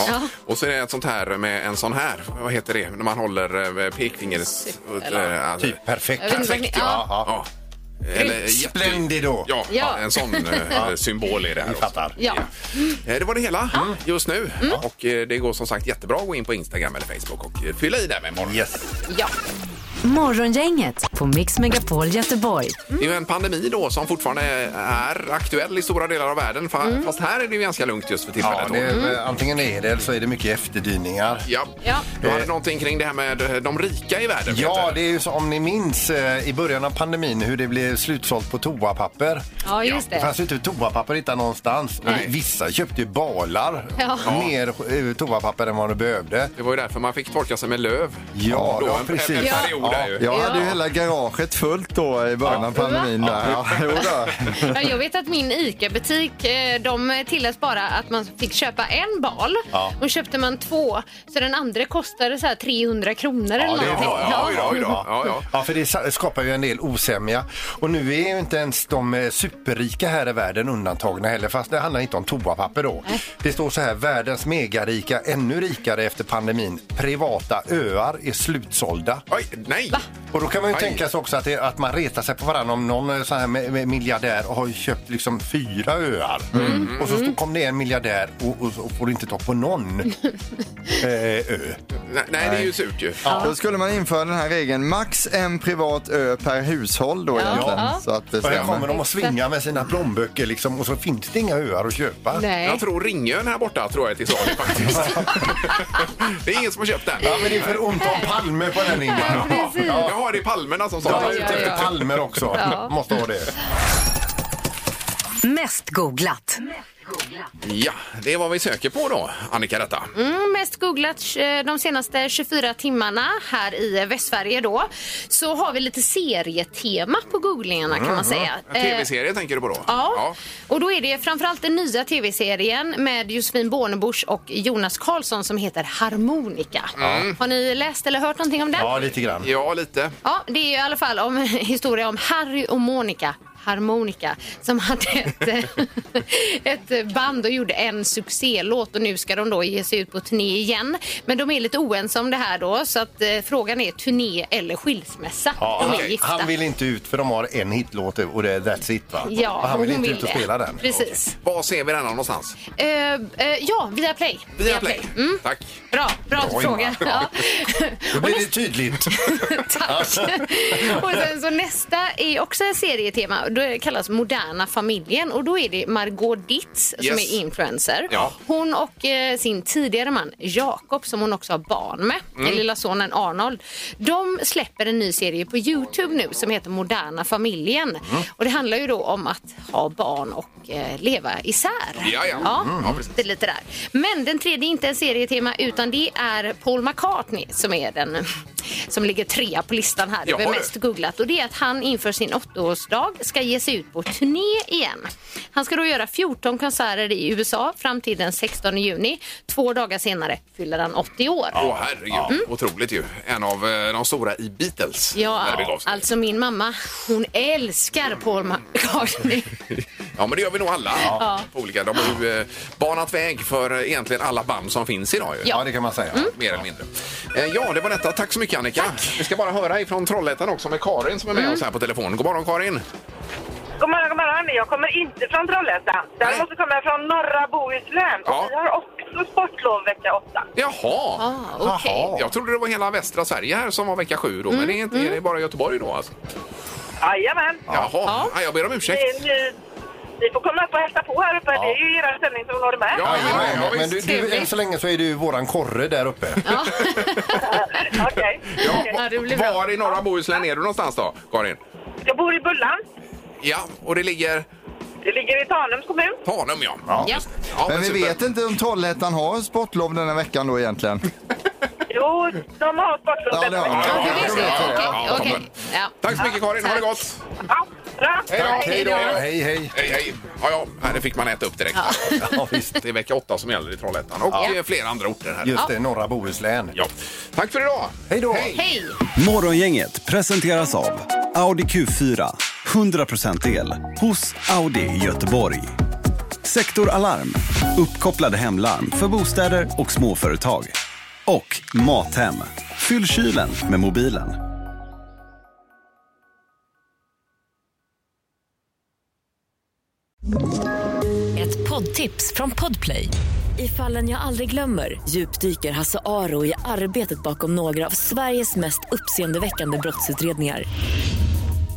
Speaker 4: Och så är det ett sånt här med en sån här, vad heter det, när man håller eh, pekfingers... eh,
Speaker 3: Typ
Speaker 5: Jag vet
Speaker 3: perfekt.
Speaker 5: inte vad ni-
Speaker 4: Perfekt, ja.
Speaker 3: ja.
Speaker 4: ja. Eller jätte-
Speaker 3: Splendido.
Speaker 4: Ja,
Speaker 5: Ja.
Speaker 4: en sån eh, symbol är det här.
Speaker 3: Ni fattar.
Speaker 5: Ja.
Speaker 4: Eh, Det var det hela just nu.
Speaker 3: Mm.
Speaker 4: Och eh, det går som sagt jättebra att gå in på Instagram eller Facebook och eh, fylla i där med morgon.
Speaker 3: Yes.
Speaker 5: ja.
Speaker 2: Morgongänget på Mix Megapol Göteborg.
Speaker 4: Det är ju en pandemi då som fortfarande är aktuell i stora delar av världen. Fa- Fast här är det ju ganska lugnt just för tillfället.
Speaker 3: Mm. Ja,
Speaker 4: då.
Speaker 3: det är, Antingen är det eller så är det mycket efterdyningar.
Speaker 4: Ja.
Speaker 5: Ja.
Speaker 4: Du hade någonting kring det här med eh, de rika i världen.
Speaker 3: Ja,
Speaker 4: Peter.
Speaker 3: det är ju så om ni minns eh, i början av pandemin hur det blev slutsålt på toapapper.
Speaker 5: ja, just
Speaker 3: Det
Speaker 5: det.
Speaker 3: fanns ju inte toapapper att hitta någonstans.
Speaker 4: Nej.
Speaker 3: Vissa köpte ju balar.
Speaker 5: Ja.
Speaker 3: Mer eh, toapapper än vad de behövde.
Speaker 4: det var ju därför man fick torka sig med löv.
Speaker 3: Ja,
Speaker 4: då,
Speaker 3: ja,
Speaker 4: en,
Speaker 3: precis.
Speaker 4: En, en period
Speaker 6: Ja,
Speaker 4: där ju.
Speaker 6: jag hade ju
Speaker 5: Ja.
Speaker 6: hela garaget fullt då i början av pandemin. Där. Ja, jo då.
Speaker 5: Ja, jag vet att min ICA-butik eh, de tillät bara att man fick köpa en bal och köpte man två så den andra kostade så här 300 kronor eller
Speaker 4: Ja,
Speaker 5: någonting.
Speaker 4: ja, oj då, oj då. Ja, ja.
Speaker 3: Ja, för det sa- skapar ju en del osämja. Och nu är ju inte ens de eh, superrika här i världen undantagna heller, fast det handlar inte om toapapper då. Det står så här, världens megarika, ännu rikare efter pandemin. Privata öar är slutsålda.
Speaker 4: Oj, nej!
Speaker 3: Och då kan man ju
Speaker 4: Aj.
Speaker 3: tänka sig också att, det, att man retar sig på varandra om någon eh, sån här med, med miljardär har ju köpt liksom fyra öar.
Speaker 5: Mm.
Speaker 3: Och så stod- kom det en miljardär och, och, och får inte ta på någon eh, ö.
Speaker 4: Nej, nej, det är ju surt ju.
Speaker 6: Då skulle man införa den här regeln max en privat ö per hushåll då egentligen.
Speaker 5: Ja.
Speaker 6: Så att det
Speaker 3: Och här
Speaker 6: stämmer.
Speaker 3: kommer de att svinga med sina plånböcker liksom, och så finns det inga öar att köpa.
Speaker 5: Nej.
Speaker 4: Jag tror Ringön här borta tror jag är till salu faktiskt. det är ingen som har köpt den.
Speaker 3: Ja, men det är för ont om palmer på den
Speaker 5: Ja,
Speaker 3: linjen.
Speaker 5: precis.
Speaker 4: Ja, Jaha, det är palmerna som
Speaker 3: De
Speaker 4: sa
Speaker 3: är ute efter palmer också. Måste ha det.
Speaker 2: Mest googlat.
Speaker 4: Ja, det är vad vi söker på då, Annika detta.
Speaker 5: Mm, mest googlat eh, de senaste 24 timmarna här i eh, Västsverige då. Så har vi lite serietema på googlingarna kan man säga. Eh,
Speaker 4: Tv-serie tänker du på då?
Speaker 5: Ja. och då är det framförallt den nya tv-serien med Josefin Bornebusch och Jonas Karlsson som heter Harmonika. Har ni läst eller hört någonting om den?
Speaker 3: Ja, lite grann.
Speaker 4: Ja, lite.
Speaker 5: Ja, det är i alla fall om en historia om Harry och Monica. harmonika som hade ett, ett band och gjorde en succélåt och nu ska de då ge sig ut på turné igen. Men de är lite oense om det här då så att eh, frågan är turné eller skilsmässa.
Speaker 3: Ja,
Speaker 5: de är
Speaker 3: han,
Speaker 5: gifta.
Speaker 3: han vill inte ut för de har en hitlåt och det är That's It va?
Speaker 5: Ja,
Speaker 3: och han vill
Speaker 5: hon
Speaker 3: inte ut och
Speaker 5: det.
Speaker 3: spela den.
Speaker 5: Precis.
Speaker 4: Var ser vi denna någonstans?
Speaker 5: Eh, eh, ja, via Play.
Speaker 4: Via Play.
Speaker 5: Mm.
Speaker 4: Tack.
Speaker 5: Bra, bra
Speaker 3: Bra
Speaker 5: fråga. Ja.
Speaker 3: Då blir det tydligt.
Speaker 5: Tack. och sen så nästa är också en serietema. Det kallas Moderna familjen och då är det Margot Ditz som
Speaker 4: Yes.
Speaker 5: är influencer.
Speaker 4: Ja.
Speaker 5: Hon och eh, sin tidigare man Jakob som hon också har barn med,
Speaker 4: Mm.
Speaker 5: den lilla sonen Arnold. De släpper en ny serie på Youtube nu som heter Moderna familjen.
Speaker 4: Mm.
Speaker 5: Och det handlar ju då om att ha barn och eh, leva isär.
Speaker 4: Ja, ja. Mm. Ja, precis.
Speaker 5: det är lite där. Men den tredje är inte en serietema utan det är Paul McCartney som är den som ligger trea på listan här
Speaker 4: Jaha,
Speaker 5: över
Speaker 4: du.
Speaker 5: mest googlat och det är att han inför sin åttaårsdag ska ge sig ut på turné igen. Han ska då göra 14 konserter i USA fram till den 16 juni. Två dagar senare fyller han 80 år.
Speaker 4: Åh herregud,
Speaker 5: Mm.
Speaker 4: otroligt ju. En av eh, de stora i Beatles. när det begav
Speaker 5: Ja,
Speaker 4: sig.
Speaker 5: alltså min mamma, hon älskar Paul McCartney.
Speaker 4: ja, men det gör vi nog alla. På olika. De har ju eh, banat väg för eh, egentligen alla band som finns idag ju.
Speaker 3: Ja, det kan man säga.
Speaker 4: Mer eller mindre. Eh, Ja, det var detta. Tack så mycket Annika. Vi ska bara höra ifrån Trollhättan också med Karin som är med
Speaker 5: Mm.
Speaker 4: oss här på telefon. God morgon Karin!
Speaker 1: God morgon, god morgon. Jag kommer inte från Trollhättan. Däremot så kommer jag från norra Bohuslän.
Speaker 4: Ja.
Speaker 1: Vi har också sportlov vecka åtta.
Speaker 4: Jaha!
Speaker 5: ah, okej.
Speaker 3: Jaha.
Speaker 4: Jag trodde det var hela västra Sverige här som var vecka sju då, men det är, inte, det är bara Göteborg då alltså?
Speaker 1: Jajamän.
Speaker 4: Jaha, Ja, jag ber om ursäkt.
Speaker 1: Ni, ni, ni får komma upp och hälsa på här uppe. Det är ju er sändning som når med.
Speaker 4: Ja, ja,
Speaker 3: Men-
Speaker 4: ja,
Speaker 3: men
Speaker 4: visst.
Speaker 3: du, du, än så länge så är du våran korre där uppe.
Speaker 1: Okej.
Speaker 4: Ja,
Speaker 1: Okej.
Speaker 5: Ja, det blir bra.
Speaker 4: var i norra Bohuslän är du någonstans då, Karin?
Speaker 1: Jag bor i Bullan.
Speaker 4: Ja, och det ligger
Speaker 1: Det ligger i Tanums kommun.
Speaker 4: Tanum, ja. ja.
Speaker 5: Ja.
Speaker 6: Men vi
Speaker 4: super.
Speaker 6: vet inte om Trollhättan har sportlov den här veckan då egentligen.
Speaker 1: Jo, de har sportlov
Speaker 6: Ja, det har de.
Speaker 1: vecka.
Speaker 5: Ja, du vet det.
Speaker 4: Ja, ja, ja,
Speaker 5: Okej,
Speaker 4: toppen.
Speaker 5: okej. Ja.
Speaker 4: Tack så mycket Karin, ha det gott!
Speaker 1: Ja, bra.
Speaker 4: Tack, hej då.
Speaker 3: Hej, hej.
Speaker 4: Hej, hej! Ja, ja, nej, det fick man äta upp direkt.
Speaker 3: Ja, visst.
Speaker 4: Det är vecka åtta som gäller i Trollhättan och eh, flera andra orter här.
Speaker 3: Just det, norra Bohuslän.
Speaker 4: Ja. Tack för idag!
Speaker 3: Hej då.
Speaker 5: Hej!
Speaker 11: Morgongänget presenteras av Audi Q4. 100% el hos Audi Göteborg. Sektor Alarm. Uppkopplade hemlarm för bostäder och småföretag. Och Mathem. Fyll kylen med mobilen.
Speaker 2: Ett poddtips från Podplay. I fallen jag aldrig glömmer djupdyker Hasse Aro i arbetet bakom några av Sveriges mest uppseendeväckande brottsutredningar.